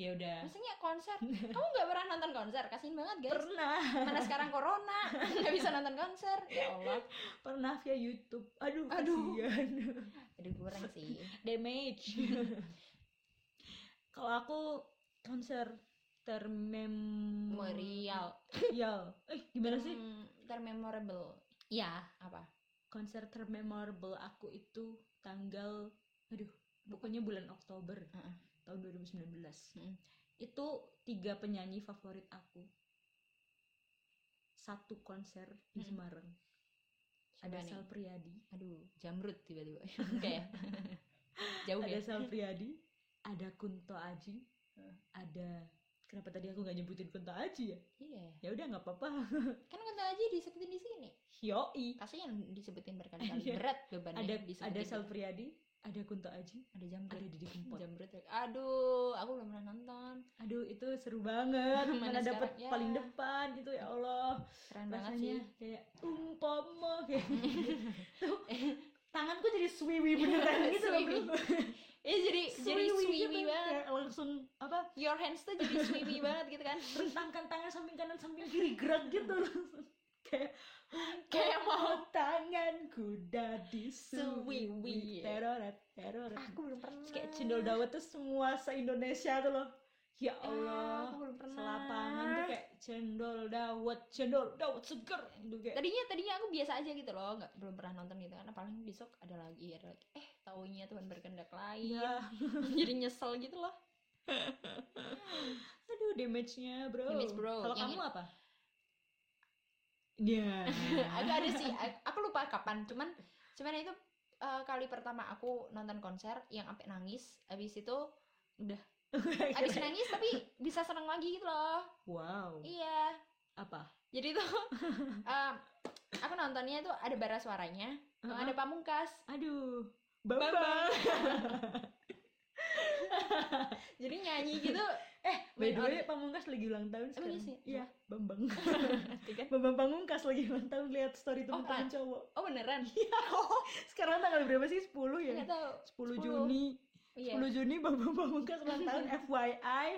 Speaker 1: Ya udah.
Speaker 2: maksudnya konser kamu nggak pernah nonton konser kasihin banget guys
Speaker 1: Pernah,
Speaker 2: mana sekarang corona nggak bisa nonton konser ya allah
Speaker 1: pernah via YouTube. Aduh,
Speaker 2: Aduh.
Speaker 1: kasihan.
Speaker 2: aduh kurang sih
Speaker 1: Hmm. Damage. Kalau aku konser termemorial.
Speaker 2: memorial
Speaker 1: Ya, eh gimana sih?
Speaker 2: Hmm, termemorable ya apa
Speaker 1: Konser termemorable aku itu tanggal aduh, pokoknya bulan Oktober
Speaker 2: Heeh.
Speaker 1: tahun 2019.
Speaker 2: Mm.
Speaker 1: Itu tiga penyanyi favorit aku. Satu konser di
Speaker 2: Mm.
Speaker 1: Semarang.
Speaker 2: Coba
Speaker 1: Ada
Speaker 2: nih.
Speaker 1: Sal Priadi,
Speaker 2: aduh jamrut tiba-tiba enggak ya jauh
Speaker 1: ada
Speaker 2: ya
Speaker 1: Sal Priadi, ada Kunto Aji, ada kenapa tadi aku nggak nyebutin Kunto Aji ya?
Speaker 2: iya
Speaker 1: Ya udah nggak apa-apa.
Speaker 2: kan kata aja disebutin di sini
Speaker 1: Yoi.
Speaker 2: kasihan disebutin berkali-kali
Speaker 1: Iya.
Speaker 2: berat bebannya
Speaker 1: Ada
Speaker 2: disebutin
Speaker 1: ada Sal Priadi, ada Kunto Aji,
Speaker 2: ada jamrut
Speaker 1: ada Didi Kempot.
Speaker 2: Jamret ya. Aduh, aku belum pernah nonton.
Speaker 1: Aduh itu seru banget.
Speaker 2: Mana
Speaker 1: Mana dapat
Speaker 2: sekarang? Ya.
Speaker 1: paling depan itu ya Allah.
Speaker 2: Keren banget sih.
Speaker 1: Rasanya kayak umpama kayak gitu. Tuh, tanganku jadi swiwi beneran gitu loh. Bro.
Speaker 2: Iya jadi jadi
Speaker 1: Swiwi-nya
Speaker 2: swiwi
Speaker 1: tuh
Speaker 2: banget.
Speaker 1: kayak langsung apa
Speaker 2: Your hands tuh jadi swiwi banget gitu kan.
Speaker 1: rentangkan tangan samping kanan samping kiri gerak gitu langsung kayak
Speaker 2: Kayak mau
Speaker 1: oh tanganku dadi
Speaker 2: Swiwi.
Speaker 1: suwi teroret teroret
Speaker 2: aku belum pernah.
Speaker 1: kayak cendol dawet tuh semua se Indonesia tuh loh ya
Speaker 2: Ah, aku
Speaker 1: Allah
Speaker 2: belum pernah.
Speaker 1: selapangan tuh kayak cendol dawet cendol dawet seger itu kayak
Speaker 2: tadinya tadinya aku biasa aja gitu loh nggak belum pernah nonton gitu karena paling besok ada lagi ada lagi eh taunya Tuhan berkehendak lain
Speaker 1: Iya.
Speaker 2: jadi nyesel gitu loh
Speaker 1: aduh damage-nya bro
Speaker 2: Damage, bro.
Speaker 1: kalau
Speaker 2: Yang
Speaker 1: kamu apa ya
Speaker 2: aku ada sih a- aku lupa kapan cuman cuman itu eh, kali pertama aku nonton konser yang sampai nangis habis itu habis nangis tapi bisa seneng lagi gitu loh
Speaker 1: wow
Speaker 2: iya
Speaker 1: apa
Speaker 2: jadi tuh em, aku nontonnya itu ada bara suaranya ada pamungkas
Speaker 1: aduh
Speaker 2: Bambang.
Speaker 1: Bambang
Speaker 2: jadi nyanyi gitu
Speaker 1: eh by
Speaker 2: Main
Speaker 1: the way
Speaker 2: organ-
Speaker 1: Pamungkas lagi ulang tahun
Speaker 2: Emang
Speaker 1: sekarang
Speaker 2: iya sih?
Speaker 1: iya Bambang
Speaker 2: Gitu kan.
Speaker 1: Bambang Pamungkas lagi ulang tahun lihat story
Speaker 2: Oh,
Speaker 1: teman-teman cowok
Speaker 2: oh beneran
Speaker 1: Iya.
Speaker 2: Oh, iya.
Speaker 1: sekarang tanggal berapa sih 10 ya
Speaker 2: nggak tahu
Speaker 1: 10
Speaker 2: 10.
Speaker 1: Juni
Speaker 2: iya
Speaker 1: 10 Juni Bambang Pamungkas ulang tahun FYI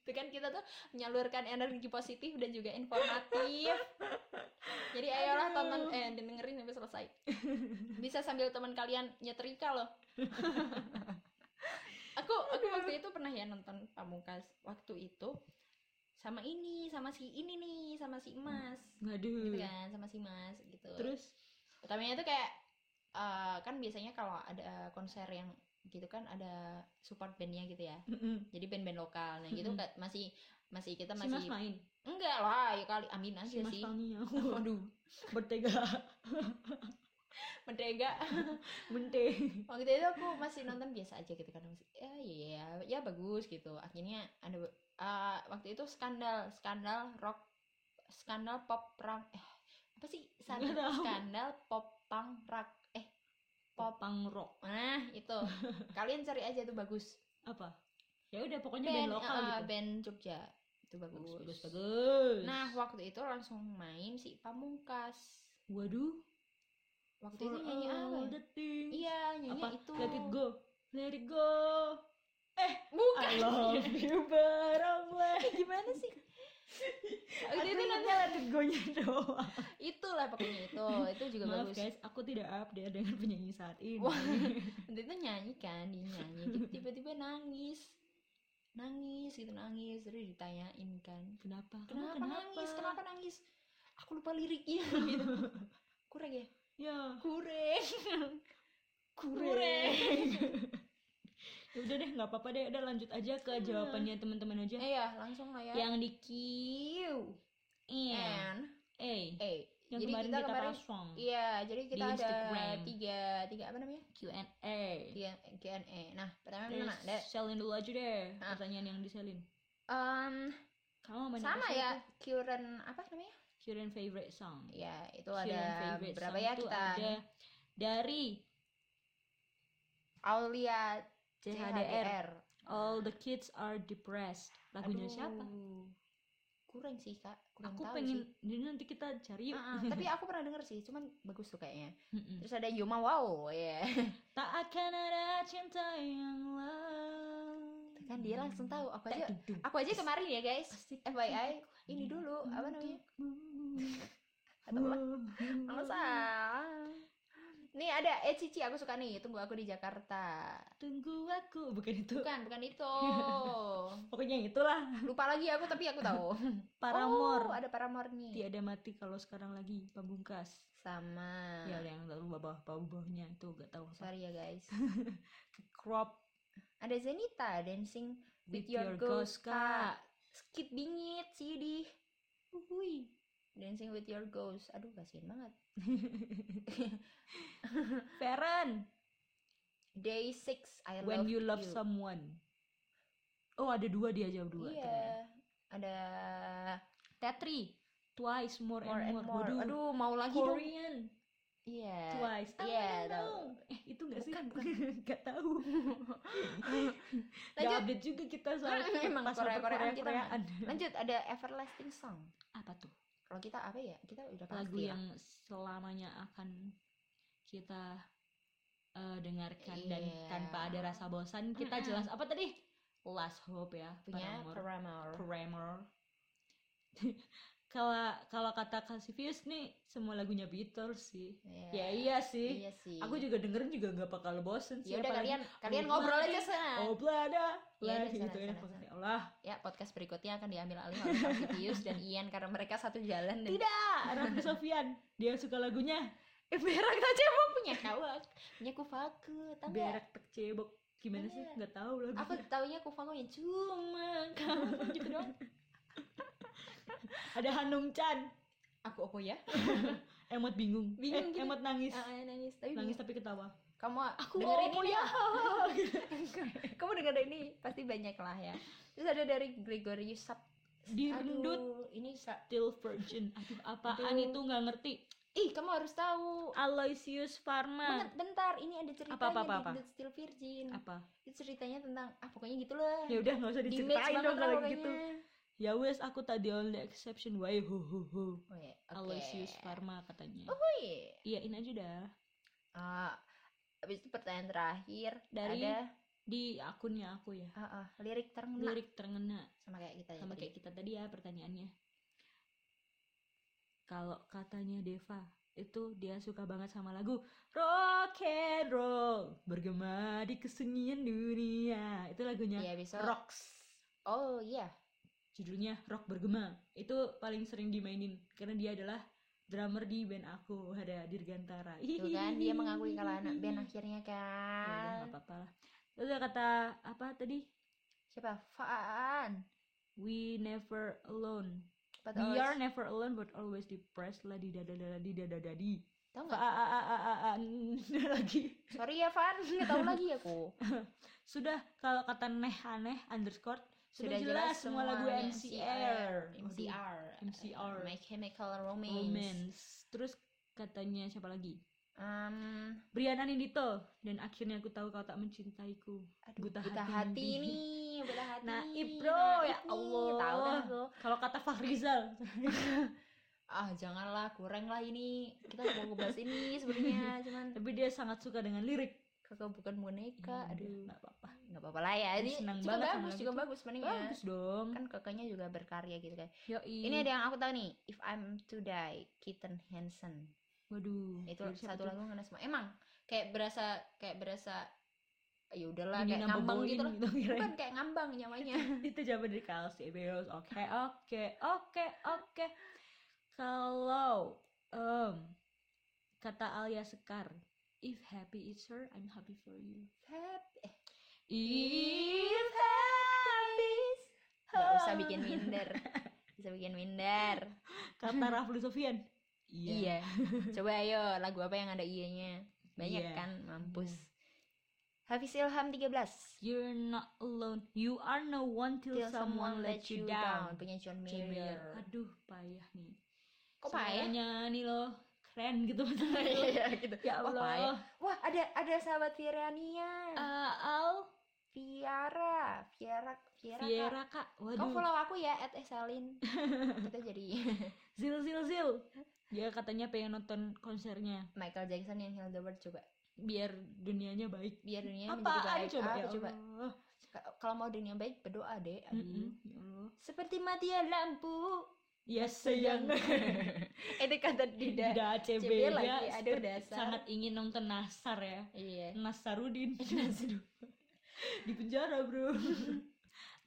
Speaker 2: Itu kan kita tuh menyalurkan energi positif dan juga informatif. Jadi
Speaker 1: Aduh.
Speaker 2: ayolah tonton eh dan dengerin sampai selesai. Bisa sambil teman kalian nyetrika loh. aku aku waktu itu pernah ya nonton Pamungkas. Waktu itu sama ini, sama si ini nih, sama si
Speaker 1: Hmm.
Speaker 2: Mas.
Speaker 1: Aduh
Speaker 2: Gitu kan, sama si Mas gitu.
Speaker 1: Hmm. Terus
Speaker 2: utamanya tuh kayak eh, kan biasanya kalau ada konser yang gitu kan ada support bandnya gitu ya
Speaker 1: Mm-mm.
Speaker 2: jadi band-band lokal nah gitu
Speaker 1: Mm-mm.
Speaker 2: nggak- masih masih kita
Speaker 1: Hmm. Si Mas
Speaker 2: masih
Speaker 1: main
Speaker 2: enggak lah ya kali amin aja
Speaker 1: Si Mas
Speaker 2: sih
Speaker 1: Tania
Speaker 2: waduh
Speaker 1: Bertega
Speaker 2: mentega
Speaker 1: Mente
Speaker 2: waktu itu aku masih nonton biasa aja gitu kan masih ya ya ya bagus gitu akhirnya ada be- ah, waktu itu skandal skandal rock skandal pop punk eh apa sih
Speaker 1: Nggak tahu.
Speaker 2: skandal pop punk rock eh pop
Speaker 1: Popang Rock
Speaker 2: nah itu kalian cari aja tuh bagus
Speaker 1: Apa? Ya udah pokoknya band, lokal
Speaker 2: eh,
Speaker 1: gitu
Speaker 2: band Jogja itu bagus
Speaker 1: Bagus, bagus, bagus.
Speaker 2: nah waktu itu langsung main si Pamungkas
Speaker 1: waduh,
Speaker 2: waktu
Speaker 1: for
Speaker 2: itu nyanyi
Speaker 1: all
Speaker 2: apa ya?
Speaker 1: the things.
Speaker 2: iya nyanyi
Speaker 1: apa?
Speaker 2: itu
Speaker 1: Let it go, let it go.
Speaker 2: bukan Eh,
Speaker 1: I love you, but I'm like-
Speaker 2: gimana sih waktu Oh, itu
Speaker 1: Aku
Speaker 2: nanti
Speaker 1: ingatnya let it go-nya doang.
Speaker 2: itulah pokoknya itu itu juga
Speaker 1: Maaf
Speaker 2: bagus
Speaker 1: guys, aku tidak update dengan penyanyi saat ini.
Speaker 2: Wah. waktu itu nyanyi kan dia nyanyi gitu, tiba-tiba nangis nangis gitu nangis terus ditanyain kan
Speaker 1: Kenapa? Kamu
Speaker 2: kenapa, nangis kenapa nangis aku lupa liriknya gitu kurang ya
Speaker 1: Ya,
Speaker 2: kurang kurang
Speaker 1: kureng. ya udah deh, nggak apa-apa deh. Udah lanjut aja ke
Speaker 2: Hmm.
Speaker 1: jawabannya teman-teman aja.
Speaker 2: eh ya langsung lah ya
Speaker 1: Yang di Q, N,
Speaker 2: and
Speaker 1: A.
Speaker 2: eh
Speaker 1: Yang
Speaker 2: Jadi
Speaker 1: kemarin
Speaker 2: kita
Speaker 1: kita,
Speaker 2: kemarin-
Speaker 1: pasang.
Speaker 2: iya jadi kita ada
Speaker 1: Instagram.
Speaker 2: tiga tiga apa namanya
Speaker 1: Q&A.
Speaker 2: Iya, GNE. Nah, pertama
Speaker 1: Terus
Speaker 2: mana? Dek?
Speaker 1: selin dulu aja deh
Speaker 2: Ah.
Speaker 1: pertanyaan yang diselin.
Speaker 2: Em,
Speaker 1: Kamu main
Speaker 2: sama ya, current apa namanya?
Speaker 1: Current favorite song.
Speaker 2: Ya, itu
Speaker 1: Current
Speaker 2: ada
Speaker 1: favorite
Speaker 2: berapa
Speaker 1: song
Speaker 2: ya
Speaker 1: itu
Speaker 2: kita?
Speaker 1: Ada dari
Speaker 2: Aulia
Speaker 1: CHDR. All the kids are depressed. Lagunya
Speaker 2: Aduh.
Speaker 1: siapa?
Speaker 2: Kurang sih, Kak. Kurang
Speaker 1: Aku
Speaker 2: tahu
Speaker 1: pengen
Speaker 2: sih.
Speaker 1: ini nanti kita cari yuk.
Speaker 2: Ah, ah, tapi aku pernah denger sih, cuman bagus tuh kayaknya.
Speaker 1: Mm-mm.
Speaker 2: Terus ada Yuma Wow, ya.
Speaker 1: tak akan ada cinta yang lain.
Speaker 2: Kan dia langsung tahu. Aku
Speaker 1: Tak
Speaker 2: aja
Speaker 1: duduk
Speaker 2: aku aja kemarin ya, guys.
Speaker 1: pasti
Speaker 2: FYI, ini dulu apa namanya? Atau apa? Males
Speaker 1: namanya?
Speaker 2: ah. Nih ada eh Cici aku suka nih, tunggu aku di Jakarta.
Speaker 1: Tunggu aku, bukan itu.
Speaker 2: Bukan, bukan itu.
Speaker 1: Pokoknya yang itulah.
Speaker 2: Lupa lagi aku tapi aku tahu. Oh,
Speaker 1: Paramore Iya.
Speaker 2: ada Paramore nih.
Speaker 1: tiada mati kalau sekarang lagi pamungkas
Speaker 2: Sama.
Speaker 1: ya udah yang lalu bawah bawahnya itu gak tahu apa.
Speaker 2: Ah. Sorry ya guys.
Speaker 1: crop
Speaker 2: Ada Zenita dancing
Speaker 1: with, your ghost kak
Speaker 2: Skit dingit sih di
Speaker 1: Uhuy.
Speaker 2: Dancing with your ghost. Aduh kasihan banget.
Speaker 1: Feren
Speaker 2: Day 6 I
Speaker 1: when
Speaker 2: love
Speaker 1: you love someone oh ada dua dia jawab dua kan ya?
Speaker 2: Iya.
Speaker 1: ternyata.
Speaker 2: Ada
Speaker 1: Tetri twice more,
Speaker 2: more
Speaker 1: and more,
Speaker 2: and more.
Speaker 1: Waduh,
Speaker 2: Aduh, mau lagi dong.
Speaker 1: Korean
Speaker 2: Iya.
Speaker 1: twice Ah, I
Speaker 2: Iya,
Speaker 1: wanna
Speaker 2: tahu.
Speaker 1: know. eh itu gak sih
Speaker 2: Bukan,
Speaker 1: gak tahu gak
Speaker 2: Lanjut.
Speaker 1: update juga kita soal
Speaker 2: Emang
Speaker 1: pas
Speaker 2: Korea- Koreaan
Speaker 1: Korea
Speaker 2: kita
Speaker 1: Koreaan
Speaker 2: Lanjut ada Everlasting Song.
Speaker 1: apa tuh
Speaker 2: Kalau kita apa ya? Kita udah pasti
Speaker 1: lagu
Speaker 2: ya.
Speaker 1: yang selamanya akan kita eh, dengarkan dan
Speaker 2: Iya.
Speaker 1: tanpa ada rasa bosan kita
Speaker 2: Mm-mm.
Speaker 1: jelas apa tadi last hope ya
Speaker 2: punya
Speaker 1: Paramore.
Speaker 2: Paramore.
Speaker 1: Paramore. kalau kalau kata Kasivius nih semua lagunya Beatles sih ya iya sih
Speaker 2: Iya sih.
Speaker 1: aku juga dengerin juga nggak bakal bosen sih
Speaker 2: Ya udah
Speaker 1: apalagi-
Speaker 2: kalian kalian
Speaker 1: Oh,
Speaker 2: ngobrol
Speaker 1: berarti-
Speaker 2: aja sana.
Speaker 1: oh blada
Speaker 2: Ya
Speaker 1: lah
Speaker 2: udah,
Speaker 1: gitu
Speaker 2: sana,
Speaker 1: enak
Speaker 2: sana,
Speaker 1: banget.
Speaker 2: sana.
Speaker 1: ya Allah
Speaker 2: Ya podcast berikutnya akan diambil alih oleh Sitius dan Ian karena mereka satu jalan dan
Speaker 1: Tidak. Raffi Sofian dia suka lagunya
Speaker 2: berak tak cebok punya kawak punya kufaku tahu nggak? Iya.
Speaker 1: berak tek cebok gimana sih
Speaker 2: Ada.
Speaker 1: nggak tahu lagunya
Speaker 2: aku taunya kufaku yang cuma kamu gitu dong
Speaker 1: ada Hanung Chan
Speaker 2: aku apa ya
Speaker 1: emot bingung eh,
Speaker 2: Bingung gitu.
Speaker 1: emot nangis
Speaker 2: Ah, nangis tapi
Speaker 1: nangis
Speaker 2: bingung.
Speaker 1: tapi ketawa
Speaker 2: kamu
Speaker 1: Aku
Speaker 2: dengerin
Speaker 1: apa
Speaker 2: ini
Speaker 1: ya?
Speaker 2: ya? kamu dengerin ini pasti banyak lah ya terus ada dari Gregorius Sab
Speaker 1: direndut
Speaker 2: Aduh, ini sa-
Speaker 1: till virgin aduh apaan
Speaker 2: Aduh.
Speaker 1: itu nggak ngerti
Speaker 2: ih kamu harus tahu
Speaker 1: Aloysius Pharma
Speaker 2: Bentar, bentar, ini ada ceritanya
Speaker 1: Ah. Apa, apa, apa,
Speaker 2: di
Speaker 1: apa?
Speaker 2: The Still Virgin.
Speaker 1: apa
Speaker 2: Itu ceritanya tentang ah pokoknya gitu lah.
Speaker 1: ya udah nggak usah
Speaker 2: Di match
Speaker 1: diceritain
Speaker 2: banget
Speaker 1: dong
Speaker 2: lah
Speaker 1: kalau
Speaker 2: pokoknya.
Speaker 1: gitu ya wes aku tadi only exception why ho ho ho
Speaker 2: Oh, ya, oke.
Speaker 1: Aloysius Pharma katanya
Speaker 2: Oh, iya.
Speaker 1: iyain aja dah
Speaker 2: Ah, habis itu pertanyaan terakhir
Speaker 1: Dari-
Speaker 2: ada
Speaker 1: di akunnya aku ya
Speaker 2: ah, ah, lirik terngena
Speaker 1: lirik terngena
Speaker 2: sama kayak kita ya
Speaker 1: sama
Speaker 2: tadi.
Speaker 1: kayak kita tadi ya pertanyaannya kalau katanya Deva itu dia suka banget sama lagu rock and roll bergema di kesunyian dunia itu lagunya
Speaker 2: Iya, besok.
Speaker 1: rocks
Speaker 2: Oh, iya.
Speaker 1: judulnya rock bergema itu paling sering dimainin karena dia adalah drummer di band aku ada Dirgantara
Speaker 2: Tuh kan dia mengakui kalau anak band akhirnya
Speaker 1: ya udah nggak
Speaker 2: kan.
Speaker 1: apa-apa lah terus ada kata apa tadi
Speaker 2: Siapa? Faan.
Speaker 1: we never alone
Speaker 2: But
Speaker 1: We
Speaker 2: always-
Speaker 1: are never alone but always depressed lah di dada dada di dada dadi.
Speaker 2: Tahu
Speaker 1: Ah
Speaker 2: nggak?
Speaker 1: ah ah ah, ah ah n- lagi.
Speaker 2: Sorry ya, Fan. Nggak tahu lagi aku.
Speaker 1: Sudah kalau kata neh aneh underscore sudah, jelas, semua lagu
Speaker 2: semuanya
Speaker 1: MCR. Waduh,
Speaker 2: MCR.
Speaker 1: MCR.
Speaker 2: My Chemical Romance.
Speaker 1: Romance. Terus katanya siapa lagi?
Speaker 2: Um,
Speaker 1: Briana Nindito dan akhirnya aku tahu kau tak mencintaiku.
Speaker 2: aduh,
Speaker 1: Buta
Speaker 2: buta,
Speaker 1: hati
Speaker 2: hati,
Speaker 1: nih.
Speaker 2: nih, buta hati.
Speaker 1: Naib,
Speaker 2: nih,
Speaker 1: bro,
Speaker 2: naib
Speaker 1: ya
Speaker 2: nih.
Speaker 1: Allah.
Speaker 2: Tahu kan aku.
Speaker 1: Kalau kata Fahrizal,
Speaker 2: Ah, janganlah, kurang lah ini. Kita nggak mau ngebahas ini sebenarnya, cuman
Speaker 1: tapi dia sangat suka dengan lirik.
Speaker 2: kakak bukan
Speaker 1: Ya,
Speaker 2: boneka. Aduh, Iya.
Speaker 1: nggak apa-apa.
Speaker 2: nggak apa-apa lah ya.
Speaker 1: Aku
Speaker 2: Ini
Speaker 1: senang
Speaker 2: juga
Speaker 1: banget sama
Speaker 2: bagus,
Speaker 1: lagu
Speaker 2: juga
Speaker 1: itu.
Speaker 2: bagus sebenarnya.
Speaker 1: Bagus dong.
Speaker 2: Kan kakaknya juga berkarya gitu kan.
Speaker 1: Yoi.
Speaker 2: Ini ada yang aku tahu nih, If I'm to Die, Kitten Hansen.
Speaker 1: Waduh.
Speaker 2: Itu
Speaker 1: dari Iya, siapa
Speaker 2: satu
Speaker 1: tuh?
Speaker 2: lagu ngena semua. Emang kayak berasa kayak berasa ya udahlah
Speaker 1: Ini
Speaker 2: kayak
Speaker 1: number
Speaker 2: ngambang gitu
Speaker 1: bowling
Speaker 2: loh.
Speaker 1: kirain.
Speaker 2: Bukan kayak ngambang nyawanya.
Speaker 1: itu jawaban dari Kalsi Beos oke oke oke oke kalau em, kata Alia Sekar if happy is her I'm happy for you if happy is her
Speaker 2: Gak usah bikin minder. Bisa bikin minder.
Speaker 1: kata Rafli Sofian
Speaker 2: Iya. Coba ayo lagu apa yang ada iya-nya? Banyak
Speaker 1: Iya.
Speaker 2: kan, mampus. Hafiz Ilham 13.
Speaker 1: you're not alone you are no one till, someone let you down,
Speaker 2: Punya John
Speaker 1: John Mayer.
Speaker 2: Mayer.
Speaker 1: aduh payah nih
Speaker 2: Kok payah?
Speaker 1: Semuanya nih loh keren gitu maksudnya
Speaker 2: Iya gitu.
Speaker 1: ya
Speaker 2: Wah,
Speaker 1: Allah
Speaker 2: payah. Wah, ada ada sahabat Virania.
Speaker 1: Ah, Al
Speaker 2: Viara, Viara, Viara. Kak.
Speaker 1: Viera kak
Speaker 2: Kamu
Speaker 1: Waduh
Speaker 2: follow aku ya, at Esalin. Kita jadi
Speaker 1: Zil Zil Zil Dia katanya pengen nonton konsernya
Speaker 2: Michael Jackson yang Heal the World coba.
Speaker 1: Biar dunianya baik
Speaker 2: Biar dunia
Speaker 1: Apaan
Speaker 2: Iya, menjadi baik.
Speaker 1: coba
Speaker 2: Apa
Speaker 1: ya
Speaker 2: coba?
Speaker 1: Allah
Speaker 2: Ka- Kalau mau dunia baik, berdoa deh. Aduh.
Speaker 1: Mm-mm, ya Allah.
Speaker 2: Seperti mati ya lampu.
Speaker 1: Ya sayang
Speaker 2: Itu kata Dida.
Speaker 1: Tidak CB
Speaker 2: CB lagi,
Speaker 1: ya
Speaker 2: aduh,
Speaker 1: seperti-
Speaker 2: dasar.
Speaker 1: Sangat ingin nonton Nasar ya
Speaker 2: Iya.
Speaker 1: Nasarudin Di penjara bro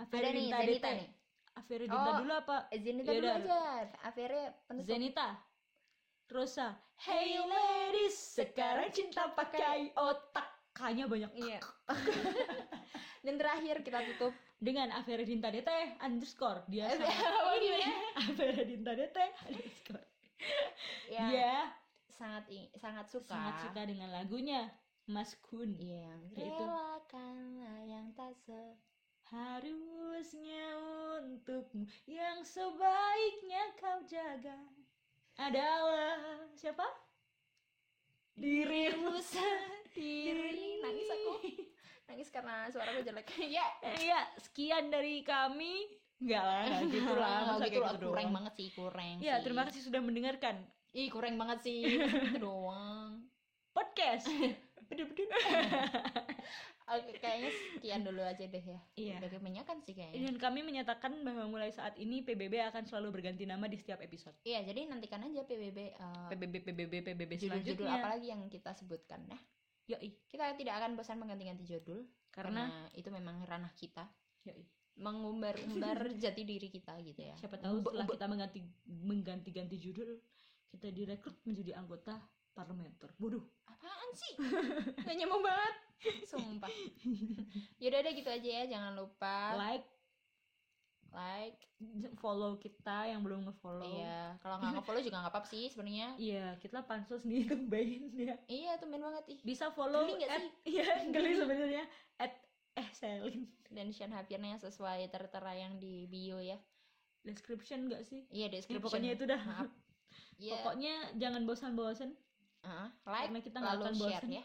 Speaker 2: Ada nih
Speaker 1: Aferinta
Speaker 2: Zenita
Speaker 1: Deta
Speaker 2: nih.
Speaker 1: Aferinta
Speaker 2: Oh.
Speaker 1: dulu apa?
Speaker 2: Eh, Zenita
Speaker 1: Iya,
Speaker 2: dulu
Speaker 1: dah.
Speaker 2: aja. Akhirnya penutup.
Speaker 1: Zenita Rosa Hey ladies Sekarang cinta pakai otak Kayaknya banyak
Speaker 2: Iya. Dan terakhir kita tutup.
Speaker 1: dengan Avera Dinta DT underscore dia sangat
Speaker 2: Apa
Speaker 1: ini
Speaker 2: dia?
Speaker 1: Avera Dinta DT underscore
Speaker 2: Ya,
Speaker 1: dia
Speaker 2: sangat i- sangat suka.
Speaker 1: Iya. sangat suka dengan lagunya Mas Kun
Speaker 2: Yang
Speaker 1: Ya, itu.
Speaker 2: relakanlah yang tak se
Speaker 1: harusnya untukmu yang sebaiknya kau jaga adalah siapa dirimu sendiri
Speaker 2: Diri. Nangis aku. Nangis karena suara gue jelek. Ya.
Speaker 1: iya sekian dari kami enggak lah enggak gitu lah
Speaker 2: Nggak
Speaker 1: masa kayak
Speaker 2: gitu Iya, lah,
Speaker 1: gitu
Speaker 2: kurang
Speaker 1: doang.
Speaker 2: banget sih, kurang
Speaker 1: ya
Speaker 2: sih.
Speaker 1: terima kasih sudah mendengarkan gitu
Speaker 2: Ih, kurang banget sih. Itu doang.
Speaker 1: podcast
Speaker 2: Beduk-beduk. Oke, kayaknya sekian dulu aja deh ya.
Speaker 1: Iya.
Speaker 2: Udah kebanyakan sih kayaknya.
Speaker 1: Dan kami menyatakan bahwa mulai saat ini PBB akan selalu berganti nama di setiap episode.
Speaker 2: Iya, jadi nantikan aja PBB eh,
Speaker 1: PBB PBB PBB
Speaker 2: judul-judul
Speaker 1: selanjutnya.
Speaker 2: apalagi yang kita sebutkan ya.
Speaker 1: Yoi,
Speaker 2: Kita tidak akan bosan mengganti-ganti judul
Speaker 1: karena
Speaker 2: karena itu memang ranah kita.
Speaker 1: yoi.
Speaker 2: mengumbar-umbar jati diri kita gitu ya.
Speaker 1: Siapa tahu
Speaker 2: Umbe-
Speaker 1: setelah
Speaker 2: umbe-
Speaker 1: kita mengganti mengganti-ganti judul, kita direkrut menjadi anggota parlementer. Bodoh.
Speaker 2: apaan sih? Gak nyambung banget. Sumpah. Yaudah deh gitu aja ya. Jangan lupa
Speaker 1: Like,
Speaker 2: like.
Speaker 1: follow kita yang belum nge-follow.
Speaker 2: Iya, kalau nggak nge-follow juga nggak apa-apa sih sebenarnya.
Speaker 1: Iya, kita pansos nih tumbain ya.
Speaker 2: Iya, tumben banget ih.
Speaker 1: Bisa follow
Speaker 2: Geli nggak
Speaker 1: at, iya, geli sebenarnya at eh Selin.
Speaker 2: Dan Shan Hapirnya sesuai tertera yang di bio ya.
Speaker 1: Description gak sih?
Speaker 2: Iya,
Speaker 1: Ya,
Speaker 2: description.
Speaker 1: pokoknya itu dah.
Speaker 2: Maaf. Iya.
Speaker 1: Pokoknya jangan bosan-bosan
Speaker 2: Heeh. like,
Speaker 1: karena kita nggak
Speaker 2: lalu
Speaker 1: akan
Speaker 2: share
Speaker 1: bosan.
Speaker 2: ya.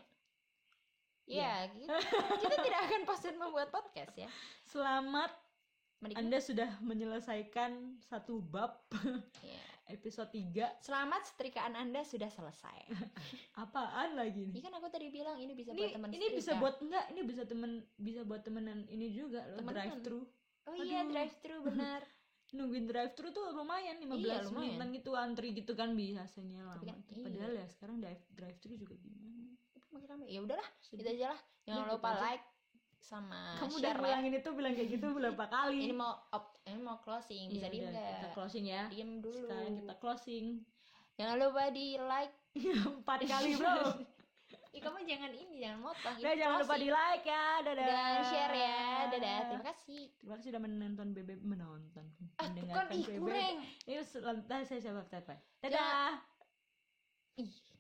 Speaker 2: Iya, kita, kita tidak akan bosan membuat podcast ya.
Speaker 1: Selamat
Speaker 2: Menikmati.
Speaker 1: Anda sudah menyelesaikan satu bab
Speaker 2: Iya.
Speaker 1: episode 3.
Speaker 2: Selamat setrikaan Anda sudah selesai.
Speaker 1: Apaan lagi nih?
Speaker 2: Ini kan aku tadi bilang ini bisa
Speaker 1: Ini,
Speaker 2: buat teman
Speaker 1: ini bisa
Speaker 2: setrika.
Speaker 1: buat enggak? Ini bisa temen bisa buat temenan ini juga loh
Speaker 2: Temenan.
Speaker 1: drive thru.
Speaker 2: Oh iya
Speaker 1: Aduh.
Speaker 2: drive thru benar.
Speaker 1: Nungguin drive thru tuh lumayan 15
Speaker 2: Iya, lumayan.
Speaker 1: menitan gitu antri gitu kan biasanya lama.
Speaker 2: Tapi kan-
Speaker 1: tuh. Padahal ya sekarang drive drive thru juga gimana?
Speaker 2: Tapi Makin rame. Ya udahlah,
Speaker 1: Sedih.
Speaker 2: kita aja lah. Jangan
Speaker 1: Udah, gitu
Speaker 2: lupa
Speaker 1: aja.
Speaker 2: like sama
Speaker 1: Kamu udah
Speaker 2: share ya.
Speaker 1: ngulangin itu bilang kayak gitu berapa kali?
Speaker 2: Ini mau op, ini mau closing, bisa
Speaker 1: Iya,
Speaker 2: diem
Speaker 1: udah, Kita
Speaker 2: nggak?
Speaker 1: closing ya.
Speaker 2: Diem dulu.
Speaker 1: Sekarang kita closing
Speaker 2: Jangan lupa di like.
Speaker 1: empat kali bro.
Speaker 2: Ih, kamu jangan ini, jangan motong.
Speaker 1: Udah
Speaker 2: Ini
Speaker 1: jangan lupa di
Speaker 2: closing.
Speaker 1: like ya. Dadah.
Speaker 2: dan share ya. Dadah, terima kasih.
Speaker 1: Terima kasih sudah menonton BB menonton.
Speaker 2: Ah, bukan
Speaker 1: mendengarkan
Speaker 2: ih,
Speaker 1: BB.
Speaker 2: kurang.
Speaker 1: Ini selantas saya siapa Dadah.
Speaker 2: Jangan- Ih.